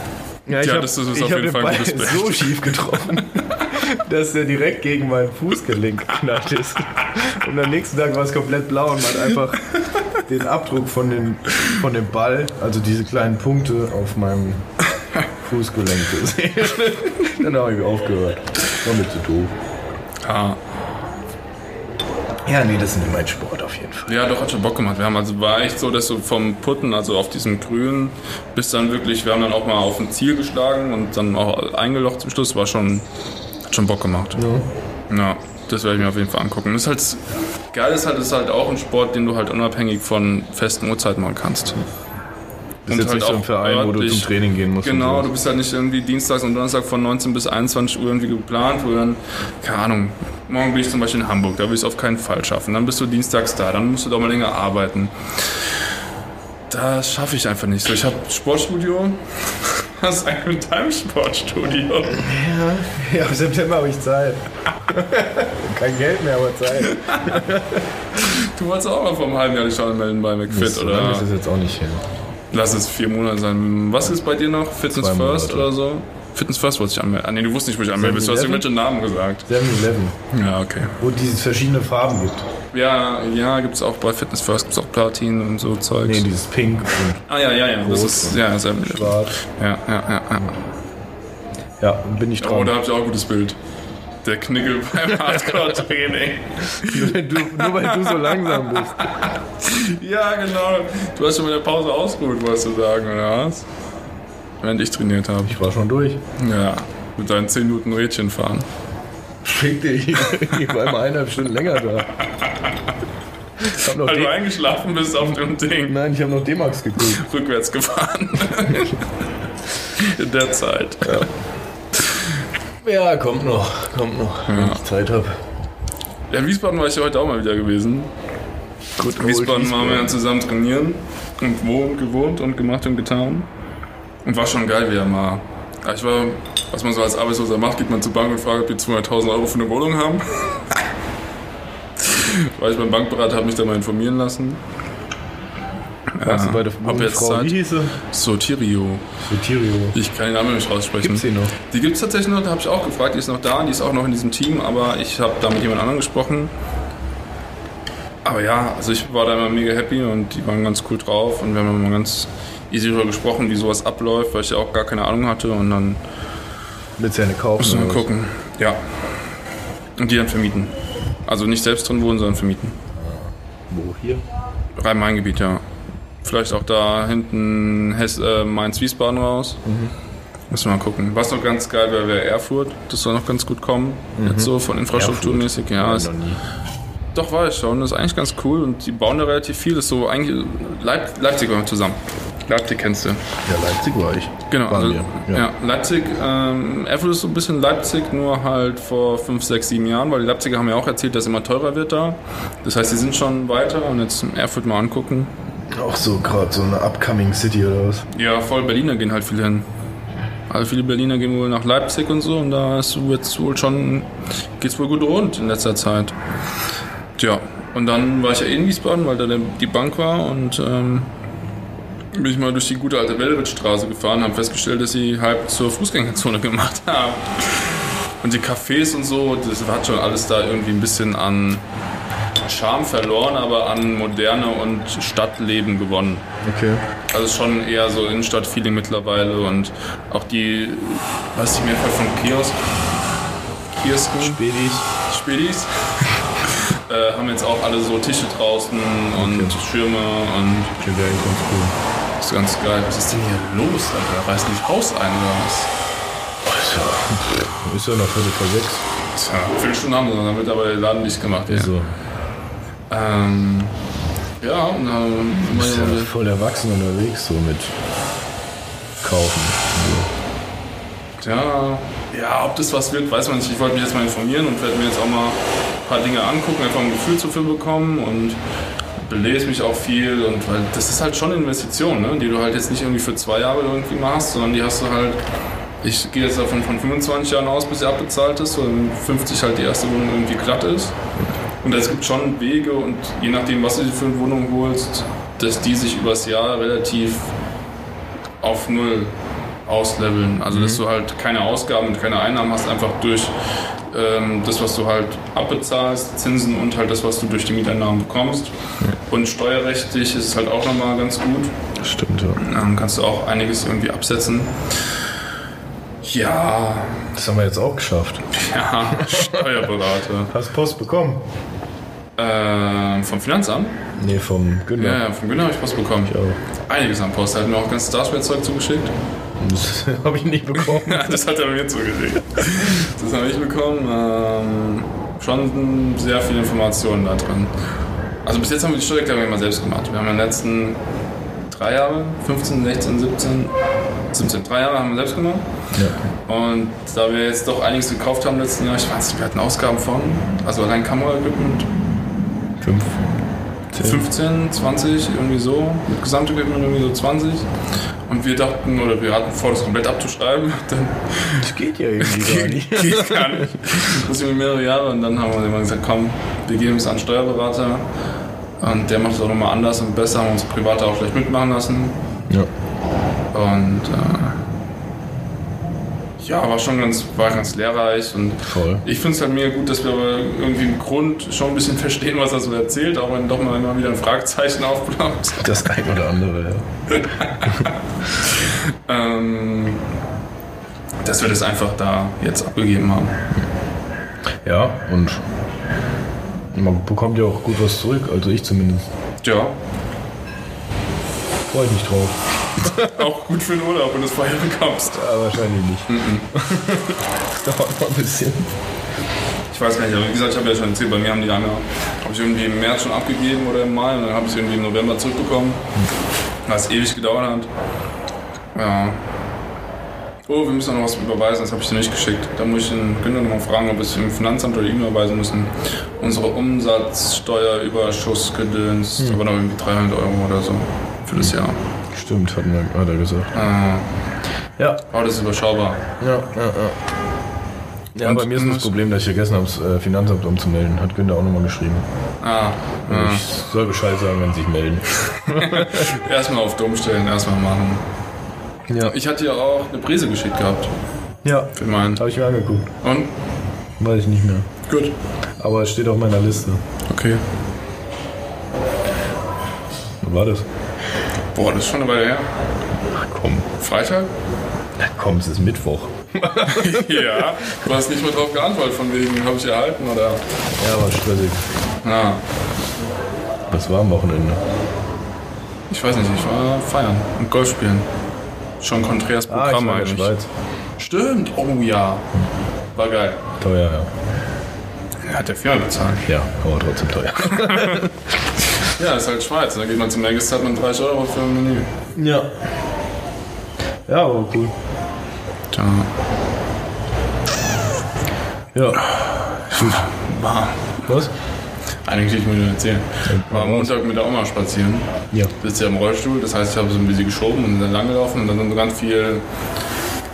Speaker 3: ja, ich
Speaker 2: Tja,
Speaker 3: habe
Speaker 2: das ist auf
Speaker 3: hab
Speaker 2: jeden
Speaker 3: den
Speaker 2: Fall ein
Speaker 3: Ball
Speaker 2: gutes Bild.
Speaker 3: so schief getroffen, dass der direkt gegen mein Fußgelenk geknallt ist. Und am nächsten Tag war es komplett blau und man hat einfach den Abdruck von, den, von dem Ball, also diese kleinen Punkte auf meinem Fußgelenk gesehen. Dann habe ich aufgehört. War mir zu doof.
Speaker 2: Ah.
Speaker 3: Ja, nee, das ist nicht mein Sport auf jeden Fall.
Speaker 2: Ja, doch, hat schon Bock gemacht. Wir haben also, war echt so, dass du vom Putten, also auf diesem Grün, bis dann wirklich, wir haben dann auch mal auf ein Ziel geschlagen und dann auch eingelocht zum Schluss, war schon, hat schon Bock gemacht. Ja. das werde ich mir auf jeden Fall angucken. Das ist halt, geil ist halt, ist halt auch ein Sport, den du halt unabhängig von festen Uhrzeiten machen kannst. halt
Speaker 3: Das ist jetzt nicht so ein Verein, wo du zum Training gehen musst. und
Speaker 2: Genau,
Speaker 3: sowas.
Speaker 2: du bist halt nicht irgendwie dienstags und Donnerstag von 19 bis 21 Uhr irgendwie geplant, wo dann, keine Ahnung, morgen bin ich zum Beispiel in Hamburg, da will ich es auf keinen Fall schaffen. Dann bist du dienstags da, dann musst du doch mal länger arbeiten. Das schaffe ich einfach nicht. So, ich habe Sportstudio, hast ein mit deinem Sportstudio.
Speaker 3: Ja, im September habe ich Zeit. Kein Geld mehr, aber Zeit.
Speaker 2: Du wolltest auch mal vor einem halben Jahr dich schon melden bei McFit,
Speaker 3: so lange
Speaker 2: oder?
Speaker 3: ist es jetzt auch nicht hin.
Speaker 2: Lass es vier Monate sein. Was ist bei dir noch? Fitness
Speaker 3: Zwei Monate.
Speaker 2: First oder so? Fitness First wollte ich anmelden. Ah, nee, du wusstest nicht, wo ich anmelden bist. Du hast irgendwelche Namen gesagt.
Speaker 3: 7-Eleven,
Speaker 2: Ja, okay.
Speaker 3: wo diese verschiedene Farben gibt.
Speaker 2: Ja, ja, gibt's auch bei Fitness First, gibt's auch Platin und so Zeugs.
Speaker 3: Nee, dieses Pink und
Speaker 2: ah ja, ja, ja, das
Speaker 3: Rot
Speaker 2: ist ja, ist ja, ja,
Speaker 3: Schwarz.
Speaker 2: ja, ja, ja.
Speaker 3: Ja, bin ich
Speaker 2: Oh,
Speaker 3: dran.
Speaker 2: da habt ihr auch ein gutes Bild. Der Knickel beim Hardcore-Training.
Speaker 3: Nur, weil du, nur weil du so langsam bist.
Speaker 2: ja, genau. Du hast schon mit der Pause ausgeruht, wolltest du sagen, oder was? Während ich trainiert habe.
Speaker 3: Ich war schon durch.
Speaker 2: Ja, mit deinen 10 Minuten Rädchen fahren.
Speaker 3: Schick dich. Ich war immer eineinhalb Stunden länger da. Ich hab noch
Speaker 2: Weil du
Speaker 3: D-
Speaker 2: eingeschlafen bist auf dem Ding,
Speaker 3: Nein, ich habe noch D-Max geguckt.
Speaker 2: rückwärts gefahren. In der Zeit.
Speaker 3: Ja, kommt noch. Kommt noch, wenn ich Zeit habe.
Speaker 2: Ja, in Wiesbaden war ich ja heute auch mal wieder gewesen.
Speaker 3: Gut,
Speaker 2: In Wiesbaden waren wir dann zusammen trainieren und wohnt, gewohnt und gemacht und getan. Und war schon geil, wie er mal. Ja, Ich war, was man so als Arbeitsloser macht, geht man zur Bank und fragt, ob die 200.000 Euro für eine Wohnung haben. War ich beim Bankberater, habe mich da mal informieren lassen.
Speaker 3: Hast du bei der
Speaker 2: Ob jetzt
Speaker 3: Frau,
Speaker 2: Zeit?
Speaker 3: wie hieß sie?
Speaker 2: Sotirio.
Speaker 3: Sotirio.
Speaker 2: Ich kann den Namen nicht raussprechen.
Speaker 3: Gibt's die noch?
Speaker 2: Die gibt es tatsächlich noch, da habe ich auch gefragt. Die ist noch da, die ist auch noch in diesem Team, aber ich habe da mit jemand anderem gesprochen. Aber ja, also ich war da immer mega happy und die waren ganz cool drauf und wir haben immer ganz easy darüber gesprochen, wie sowas abläuft, weil ich ja auch gar keine Ahnung hatte und dann
Speaker 3: Willst du ja eine kaufen?
Speaker 2: müssen wir
Speaker 3: oder was?
Speaker 2: gucken. Ja. Und die dann vermieten. Also nicht selbst drin wohnen, sondern vermieten.
Speaker 3: Wo? Hier?
Speaker 2: Rhein-Main-Gebiet, ja. Vielleicht auch da hinten Hess, äh, Mainz-Wiesbaden raus.
Speaker 3: Mhm.
Speaker 2: Müssen wir mal gucken. Was noch ganz geil wäre, wäre Erfurt. Das soll noch ganz gut kommen.
Speaker 3: Mhm.
Speaker 2: Jetzt so von infrastrukturmäßig. Ja, ist,
Speaker 3: Noch nie.
Speaker 2: doch war ich schon. Das ist eigentlich ganz cool und die bauen da relativ viel. Das ist so eigentlich Leip Leipzig gehört zusammen. Leipzig kennst du.
Speaker 3: Ja, Leipzig war ich.
Speaker 2: Genau.
Speaker 3: Waren
Speaker 2: Also,
Speaker 3: wir.
Speaker 2: ja. Leipzig, ähm, Erfurt ist so ein bisschen Leipzig, nur halt vor 5, 6, 7 Jahren, weil die Leipziger haben ja auch erzählt, dass es immer teurer wird da. Das heißt, die sind schon weiter und jetzt Erfurt mal angucken.
Speaker 3: Auch so gerade so eine Upcoming City oder was?
Speaker 2: Ja, voll Berliner gehen halt viele hin. Also viele Berliner gehen wohl nach Leipzig und so und da ist jetzt wohl schon, geht's wohl gut rund in letzter Zeit. Tja, und dann war ich ja eh in Wiesbaden, weil da der- die Bank war und ähm, bin ich mal durch die gute alte Velvetstraße gefahren, habe festgestellt, dass sie halb zur Fußgängerzone gemacht haben. Und die Cafés und so, das hat schon alles da irgendwie ein bisschen an Charme verloren, aber an Moderne und Stadtleben gewonnen.
Speaker 3: Okay.
Speaker 2: Also ist schon eher so Innenstadt-Feeling mittlerweile und auch die, was ich mir halt von Kiosk, Kiosken,
Speaker 3: Babys.
Speaker 2: Spedis, äh, haben jetzt auch alle so Tische draußen und Schirme und
Speaker 3: Klingt ja eigentlich ganz cool.
Speaker 2: das ist ganz geil. Was ist denn hier los, Alter? Reißt nicht Haus ein oder was?
Speaker 3: Ist ja noch Viertel vor sechs. Also,
Speaker 2: Tja, Viertelstunde haben wir, noch, dann wird aber der Laden dicht gemacht. Ja,
Speaker 3: So.
Speaker 2: ähm, ja und dann
Speaker 3: Ist ja voll erwachsen unterwegs so mit kaufen.
Speaker 2: Tja, ja, ob das was wird, weiß man nicht. Ich wollte mich jetzt mal informieren und werde mir jetzt auch mal ein paar Dinge angucken, einfach um ein Gefühl dafür bekommen und belese mich auch viel. Und weil das ist halt schon eine Investition, ne? die du halt jetzt nicht irgendwie für zwei Jahre irgendwie mal hast, sondern die hast du halt. Ich gehe jetzt davon von 25 Jahren aus, bis sie abbezahlt ist, weil mit 50 halt die erste Wohnung irgendwie glatt ist. Und es gibt schon Wege und je nachdem, was du dir für eine Wohnung holst, dass die sich übers Jahr relativ auf Null ausleveln. Also, dass du halt keine Ausgaben und keine Einnahmen hast, einfach durch ähm, das, was du halt abbezahlst, Zinsen und halt das, was du durch die Mieteinnahmen bekommst. Und steuerrechtlich ist es halt auch nochmal ganz gut.
Speaker 3: Also, Stimmt, ja.
Speaker 2: Dann kannst du auch einiges irgendwie absetzen. Ja,
Speaker 3: Das haben wir jetzt auch geschafft.
Speaker 2: ja, Steuerberater.
Speaker 3: Hast Post bekommen?
Speaker 2: Ähm, vom Finanzamt?
Speaker 3: Nee, vom
Speaker 2: Ja,
Speaker 3: Günther.
Speaker 2: ja, vom Günther habe ich was bekommen.
Speaker 3: Ich auch.
Speaker 2: Einiges an Post. Er hat mir auch ganz Starspielzeug zugeschickt.
Speaker 3: Das habe ich nicht bekommen.
Speaker 2: Ja, das hat er mir zugeschickt. Das habe ich bekommen. Ähm, schon sehr viele Informationen da drin. Also bis jetzt haben wir die Steuererklärung immer selbst gemacht. Wir haben in den letzten drei Jahre, 15, 16, 17, 17, drei Jahre haben wir selbst gemacht.
Speaker 3: ja.
Speaker 2: Und da wir jetzt doch einiges gekauft haben im letzten Jahr, ich weiß nicht, wir hatten Ausgaben von, also allein Kameraequipment,
Speaker 3: Fünf. Zehn.
Speaker 2: 15, 20, irgendwie so. Mit Gesamtequipment irgendwie so 20. Und wir dachten, oder wir hatten vor, das komplett abzuschreiben. Dann
Speaker 3: Das geht ja irgendwie gar nicht.
Speaker 2: Geht gar nicht. Das sind mehrere Jahre und dann haben wir immer gesagt, komm, wir geben es an einen Steuerberater und der macht es auch nochmal anders und besser, haben uns privat auch gleich mitmachen lassen
Speaker 3: Ja.
Speaker 2: und äh, ja, war schon ganz, war ganz lehrreich und
Speaker 3: Voll.
Speaker 2: ich finde es halt mega gut, dass wir aber irgendwie im Grund schon ein bisschen verstehen, was er so erzählt, auch wenn doch mal immer wieder ein Fragezeichen aufploppt.
Speaker 3: Das ein oder andere, ja.
Speaker 2: Ähm, dass wir das einfach da jetzt abgegeben haben.
Speaker 3: Ja, und man bekommt ja auch gut was zurück, also ich zumindest.
Speaker 2: Ja,
Speaker 3: Freue ich mich drauf.
Speaker 2: auch gut für den Urlaub, wenn du es vorher bekommst.
Speaker 3: Ja, wahrscheinlich nicht. das dauert noch ein bisschen.
Speaker 2: Ich weiß gar nicht, aber wie gesagt, ich habe ja schon erzählt, bei mir haben die lange, habe ich irgendwie im März schon abgegeben oder im Mai und dann habe ich sie irgendwie im November zurückbekommen, was ewig gedauert hat. Ja. Oh, wir müssen noch was überweisen, das habe ich dir nicht geschickt. Da muss ich den Günther nochmal fragen, ob wir es im Finanzamt oder ihm überweisen müssen. Unsere Umsatzsteuerüberschuss gedönst, aber noch irgendwie 300 Euro oder so für das Jahr.
Speaker 3: Stimmt, hat, mir, hat er gesagt.
Speaker 2: Äh,
Speaker 3: Ja,
Speaker 2: aber das ist überschaubar.
Speaker 3: ja, ja, ja. Ja, bei mir ist hm, das Problem, dass ich vergessen habe, das äh, Finanzamt umzumelden. Hat Günther auch nochmal geschrieben. Also
Speaker 2: Ah,
Speaker 3: Ich soll Bescheid sagen, wenn sie sich melden.
Speaker 2: erstmal auf dumm stellen, erstmal machen.
Speaker 3: Ja.
Speaker 2: Ich hatte ja auch eine Prise geschickt gehabt
Speaker 3: Ja.
Speaker 2: für meinen.
Speaker 3: Habe ich mir angeguckt.
Speaker 2: Und?
Speaker 3: Weiß ich nicht mehr.
Speaker 2: Gut.
Speaker 3: Aber es steht auf meiner Liste.
Speaker 2: Okay.
Speaker 3: Wann war das?
Speaker 2: Boah, das ist schon eine Weile her.
Speaker 3: Ach komm.
Speaker 2: Freitag?
Speaker 3: Komm, es ist Mittwoch.
Speaker 2: ja. Du hast nicht mehr drauf geantwortet, von wegen, habe ich erhalten oder.
Speaker 3: Ja, war stressig.
Speaker 2: Na,
Speaker 3: Was war am Wochenende?
Speaker 2: ich weiß nicht, ich war feiern und Golf spielen. Schon konträres Programm
Speaker 3: Ah, war in der
Speaker 2: eigentlich.
Speaker 3: Schweiz. Mhm.
Speaker 2: Stimmt, oh ja. War geil.
Speaker 3: Teuer,
Speaker 2: Hat der Firma bezahlt.
Speaker 3: ja. Ja, aber trotzdem teuer.
Speaker 2: Ja, ist halt Schweiz. Da geht man zum Nächsten, hat man 30 Euro für ein Menü.
Speaker 3: ja. Ja, aber cool.
Speaker 2: Da.
Speaker 3: Ja.
Speaker 2: War.
Speaker 3: Was?
Speaker 2: Eigentlich ich muss ich erzählen. War am Montag mit der Oma spazieren.
Speaker 3: Ja.
Speaker 2: Sitzt ja im Rollstuhl, das heißt, ich habe so ein bisschen geschoben und dann langgelaufen und dann sind so ganz viel.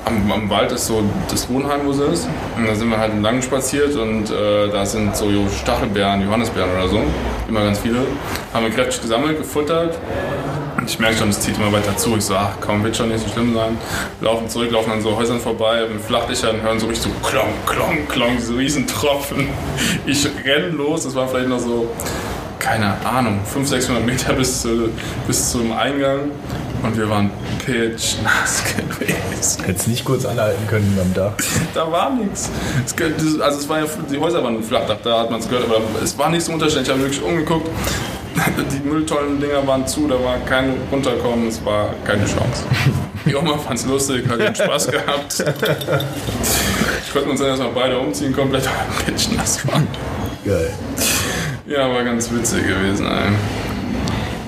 Speaker 2: Am, am Wald ist so das Wohnheim, wo sie ist. Und da sind wir halt lang spaziert und äh, da sind so Stachelbeeren, Johannisbeeren oder so. Immer ganz viele. Haben wir kräftig gesammelt, gefuttert. Und ich merke schon, es zieht immer weiter zu. Ich so, ach komm, wird schon nicht so schlimm sein. Laufen zurück, laufen an so Häusern vorbei, mit Flachdächern, hören so richtig so klong, klong, klong, diese riesen Tropfen. Ich renn los, das war vielleicht noch so, keine Ahnung, 500, 600 Meter bis, zu, bis zum Eingang. Und wir waren pitch nass gewesen.
Speaker 3: Hättest nicht kurz anhalten können am Dach.
Speaker 2: Da war nichts. Es ge- das- Also es war ja, die Häuser waren flachdach, da hat man es gehört, aber es war nicht so unterschiedlich. Ich habe wirklich umgeguckt. Die Mülltonnen-Dinger waren zu, da war kein Runterkommen, es war keine Chance. Die Oma fand es lustig, hat ihren Spaß gehabt. Ich konnte uns dann erstmal beide umziehen, komplett am Pitch nass waren.
Speaker 3: Geil.
Speaker 2: Ja, war ganz witzig gewesen, ey.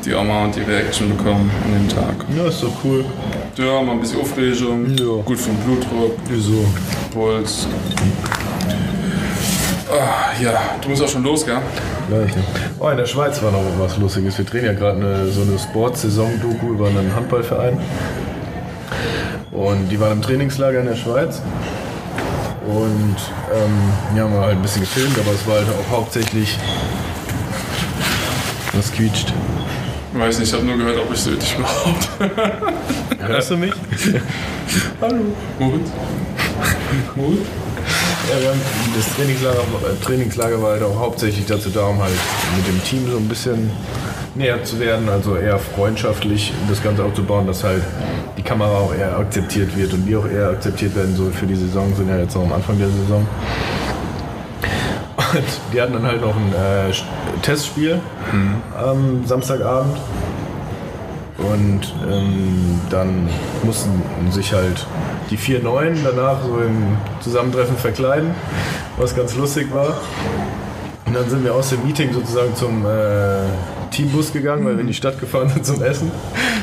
Speaker 2: Die Oma und die Reaction bekommen an dem Tag.
Speaker 3: Ja, ist doch cool.
Speaker 2: Ja, mal ein bisschen Aufregung,
Speaker 3: Ja.
Speaker 2: gut für den Blutdruck,
Speaker 3: Wieso?
Speaker 2: Puls. Ah, ja, du musst auch schon los, gell?
Speaker 3: Gleich, ne? Oh, in der Schweiz war noch was Lustiges. Wir drehen ja gerade eine, so eine Sportsaison-Doku über einen Handballverein. Und die waren im Trainingslager in der Schweiz. Und ähm, die haben wir halt ein bisschen gefilmt, aber es war halt auch hauptsächlich. Was quietscht?
Speaker 2: Weiß nicht, ich habe nur gehört, ob ich süchtig überhaupt.
Speaker 3: Hörst du mich?
Speaker 2: Hallo. Moritz? Moritz?
Speaker 3: Ja, wir haben, das Trainingslager, äh, Trainingslager war halt auch hauptsächlich dazu da, um halt mit dem Team so ein bisschen näher zu werden, also eher freundschaftlich das Ganze aufzubauen, dass halt die Kamera auch eher akzeptiert wird und wir auch eher akzeptiert werden, so für die Saison, sind ja jetzt noch am Anfang der Saison. Und die hatten dann halt noch ein äh, Sch- Testspiel am Samstagabend. Und ähm, dann mussten sich halt die vier Neuen danach so im Zusammentreffen verkleiden, was ganz lustig war. Und dann sind wir aus dem Meeting sozusagen zum äh, Teambus gegangen, weil wir in die Stadt gefahren sind zum Essen.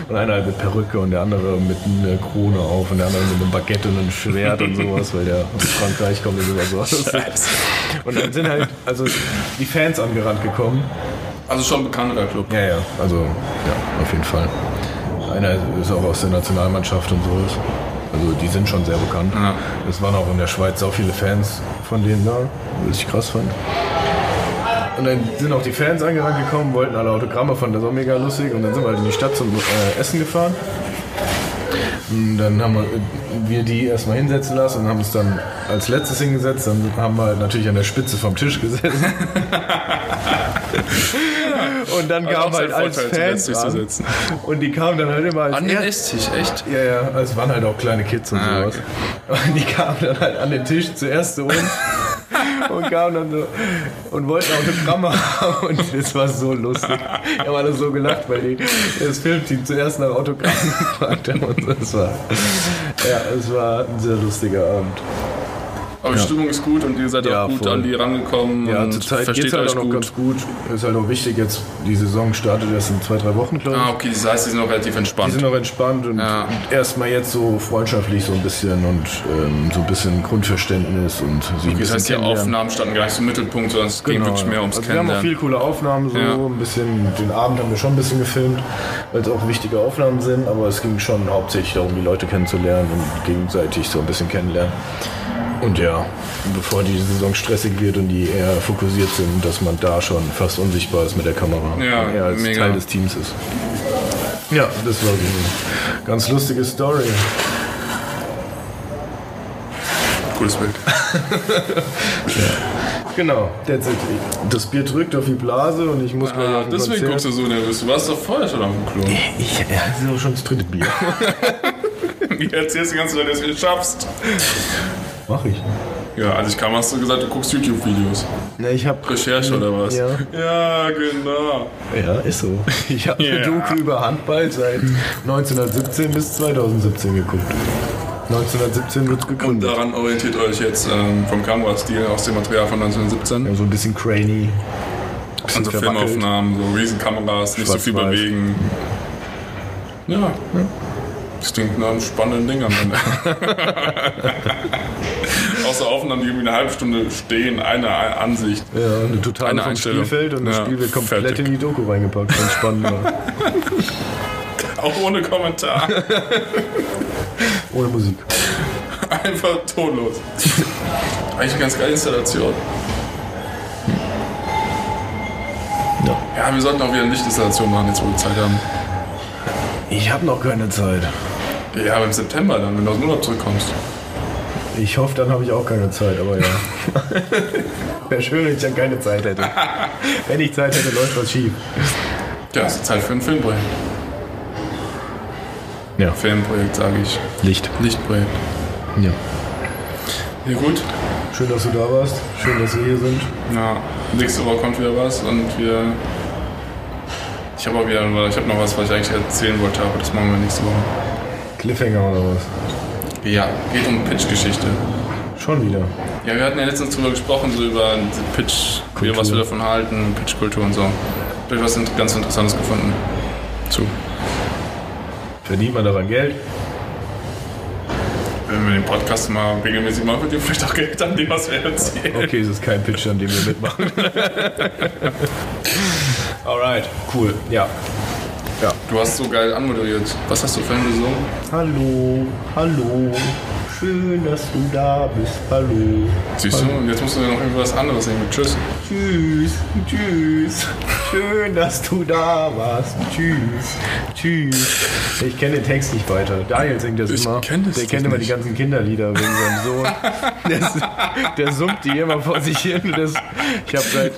Speaker 3: Und einer halt mit Perücke und der andere mit einer Krone auf und der andere mit einem Baguette und einem Schwert und sowas, weil der aus Frankreich kommt und immer so. Und dann sind halt also die Fans angerannt gekommen
Speaker 2: Also schon ein bekannterer Club.
Speaker 3: ja, ja, also ja, auf jeden Fall. Einer ist auch aus der Nationalmannschaft und sowas. Also die sind schon sehr bekannt.
Speaker 2: Ja.
Speaker 3: Es waren auch in der Schweiz so viele Fans von denen da, was ich krass fand. Und dann sind auch die Fans angerannt gekommen, wollten alle Autogramme von der mega lustig und dann sind wir halt in die Stadt zum äh, Essen gefahren. Und dann haben wir, wir die erstmal hinsetzen lassen und haben uns dann als letztes hingesetzt. Dann haben wir halt natürlich an der Spitze vom Tisch gesessen. und dann
Speaker 2: Also auch
Speaker 3: kam
Speaker 2: sein
Speaker 3: halt als
Speaker 2: Vorteil, zuletzt
Speaker 3: Fans
Speaker 2: sich zu
Speaker 3: ran.
Speaker 2: setzen.
Speaker 3: und die kamen dann halt immer als
Speaker 2: An den Esstisch, echt?
Speaker 3: ja, ja, also es waren halt auch kleine Kids und
Speaker 2: Ah,
Speaker 3: sowas. Und die kamen dann halt an den Tisch zuerst zu uns und kamen dann so und wollten Autogramme haben und es war so lustig. Wir haben alle so gelacht, weil die, das Filmteam zuerst nach Autogrammen gefragt haben und so. Es war, ja, es war ein sehr lustiger Abend.
Speaker 2: Aber die Stimmung ist gut und ihr seid
Speaker 3: Ja,
Speaker 2: auch gut
Speaker 3: voll.
Speaker 2: an die rangekommen
Speaker 3: Ja,
Speaker 2: und
Speaker 3: zurzeit geht
Speaker 2: versteht
Speaker 3: es halt
Speaker 2: euch
Speaker 3: auch noch
Speaker 2: gut.
Speaker 3: ganz gut. Ist halt auch wichtig, jetzt die Saison startet erst in zwei, drei Wochen, glaube ich.
Speaker 2: ah, okay, das heißt, die sind noch relativ
Speaker 3: Die
Speaker 2: entspannt.
Speaker 3: sind noch entspannt und
Speaker 2: Ja.
Speaker 3: erstmal jetzt so freundschaftlich so ein bisschen und ähm, so ein bisschen Grundverständnis und sich ein
Speaker 2: Das
Speaker 3: bisschen
Speaker 2: heißt, die
Speaker 3: kennenlernen.
Speaker 2: Aufnahmen standen gar nicht so im Mittelpunkt, sondern es ging
Speaker 3: Genau,
Speaker 2: wirklich
Speaker 3: ja.
Speaker 2: mehr ums
Speaker 3: also Wir haben auch
Speaker 2: Kennenlernen.
Speaker 3: viel coole Aufnahmen, so
Speaker 2: Ja.
Speaker 3: ein bisschen, den Abend haben wir schon ein bisschen gefilmt, weil es auch wichtige Aufnahmen sind, aber es ging schon hauptsächlich darum, die Leute kennenzulernen und gegenseitig so ein bisschen kennenlernen. Und ja, bevor die Saison stressig wird und die eher fokussiert sind, dass man da schon fast unsichtbar ist mit der Kamera.
Speaker 2: Ja,
Speaker 3: und er als
Speaker 2: mega.
Speaker 3: Teil des Teams ist. Ja, das war so eine ganz lustige Story.
Speaker 2: Cooles Bild.
Speaker 3: Genau, that's it. Das Bier drückt auf die Blase und ich muss gleich
Speaker 2: Ah,
Speaker 3: auf ein
Speaker 2: deswegen guckst
Speaker 3: Konzert.
Speaker 2: du so nervös. Du warst doch vorher schon auf dem Klo.
Speaker 3: Ich, ja, das ist auch schon das dritte Bier.
Speaker 2: Wie erzählst du die ganze Zeit, dass du es schaffst?
Speaker 3: Mach ich.
Speaker 2: Ja, als ich kam, hast du gesagt, du guckst YouTube-Videos.
Speaker 3: Na, ich hab...
Speaker 2: Recherche oder was?
Speaker 3: Ja.
Speaker 2: Ja, genau.
Speaker 3: Ja, ist so. Ich habe
Speaker 2: Ja.
Speaker 3: eine Doku über Handball seit 1917 bis 2017 geguckt. 1917 wird
Speaker 2: Und äh,
Speaker 3: gegründet.
Speaker 2: daran orientiert euch jetzt ähm, vom Kamerastil aus dem Material von 1917.
Speaker 3: Ja, so ein bisschen crany. Bisschen
Speaker 2: Also
Speaker 3: verwackelt.
Speaker 2: Filmaufnahmen, so Riesenkameras, nicht so viel
Speaker 3: Schwarz-weiß.
Speaker 2: bewegen. Ja. Das klingt nach einem spannenden Ding am Ende. Außer Aufnahmen, die irgendwie eine halbe Stunde stehen, eine Ansicht.
Speaker 3: Ja, eine totale
Speaker 2: Eine
Speaker 3: vom
Speaker 2: Einstellung.
Speaker 3: Spielfeld und das
Speaker 2: Ja,
Speaker 3: Spiel wird komplett
Speaker 2: fertig.
Speaker 3: in die Doku reingepackt. Ganz spannend war.
Speaker 2: Auch ohne Kommentar.
Speaker 3: Ohne Musik.
Speaker 2: Einfach tonlos. Eigentlich eine ganz geile Installation.
Speaker 3: Ja.
Speaker 2: Ja, wir sollten auch wieder eine Lichtinstallation machen, jetzt wo wir Zeit haben.
Speaker 3: Ich habe noch keine Zeit.
Speaker 2: Ja, aber im September dann, wenn du aus dem Urlaub zurückkommst.
Speaker 3: Ich hoffe, dann habe ich auch keine Zeit, aber ja. Wäre schön, wenn ich dann keine Zeit hätte. Wenn ich Zeit hätte, läuft was schief.
Speaker 2: Ja, es ist Zeit für ein Filmprojekt.
Speaker 3: Ja.
Speaker 2: Filmprojekt, sage ich.
Speaker 3: Licht.
Speaker 2: Lichtprojekt.
Speaker 3: Ja.
Speaker 2: Ja, gut.
Speaker 3: Schön, dass du da warst. Schön, dass wir hier sind.
Speaker 2: Ja, nächste Woche kommt wieder was und wir. Ich habe auch wieder, ich habe noch was, was ich eigentlich erzählen wollte, aber das machen wir nächste Woche.
Speaker 3: Cliffhanger oder was?
Speaker 2: Ja, geht um Pitch-Geschichte.
Speaker 3: Schon wieder.
Speaker 2: Ja, wir hatten ja letztens drüber gesprochen, so über die Pitch, wie, was wir davon halten, Pitch-Kultur und so. Da hab ich was ganz Interessantes gefunden. Zu.
Speaker 3: Verdient man daran Geld?
Speaker 2: Wenn wir den Podcast mal regelmäßig machen, wird ihr vielleicht auch Geld an dem, was wir erzählen.
Speaker 3: Okay, es ist kein Pitch, an dem wir mitmachen. Alright, cool. Ja.
Speaker 2: Du hast so geil anmoderiert. Was hast du vorhin gesungen?
Speaker 1: Hallo, hallo, schön, dass du da bist. Hallo,
Speaker 2: Siehst du? Und jetzt musst du ja noch irgendwas anderes singen. Tschüss.
Speaker 1: tschüss, tschüss, schön, dass du da warst. Tschüss, tschüss.
Speaker 3: Ich kenne den Text nicht weiter. Daniel singt das
Speaker 2: Ich
Speaker 3: immer.
Speaker 2: kenn das
Speaker 3: Der
Speaker 2: doch
Speaker 3: kennt immer
Speaker 2: nicht.
Speaker 3: die ganzen Kinderlieder wegen seinem Sohn. Der, der summt die immer vor sich hin. Das, ich habe seit,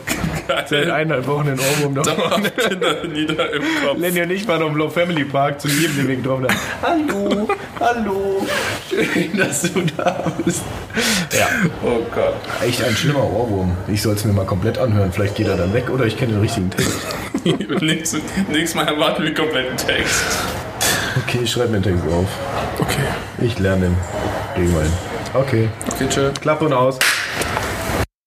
Speaker 3: seit eineinhalb Wochen den Ohrwurm noch.
Speaker 2: Kinder nieder im Kopf.
Speaker 3: Lenny und ich waren auf dem Low Family Park zu jedem, den wir getroffen haben.
Speaker 1: Hallo, hallo, schön, dass du da bist.
Speaker 2: Oh Gott.
Speaker 3: Echt ein schlimmer Ohrwurm. Ich soll es mir mal komplett anhören. Vielleicht geht er dann weg oder ich kenne den richtigen Text.
Speaker 2: nächstes, nächstes Mal erwarten wir kompletten Text.
Speaker 3: Okay, ich schreibe mir den Text auf.
Speaker 2: Okay.
Speaker 3: Ich lerne ihn. Irgendwann. Okay.
Speaker 2: Okay, tschö.
Speaker 3: Klappe und aus.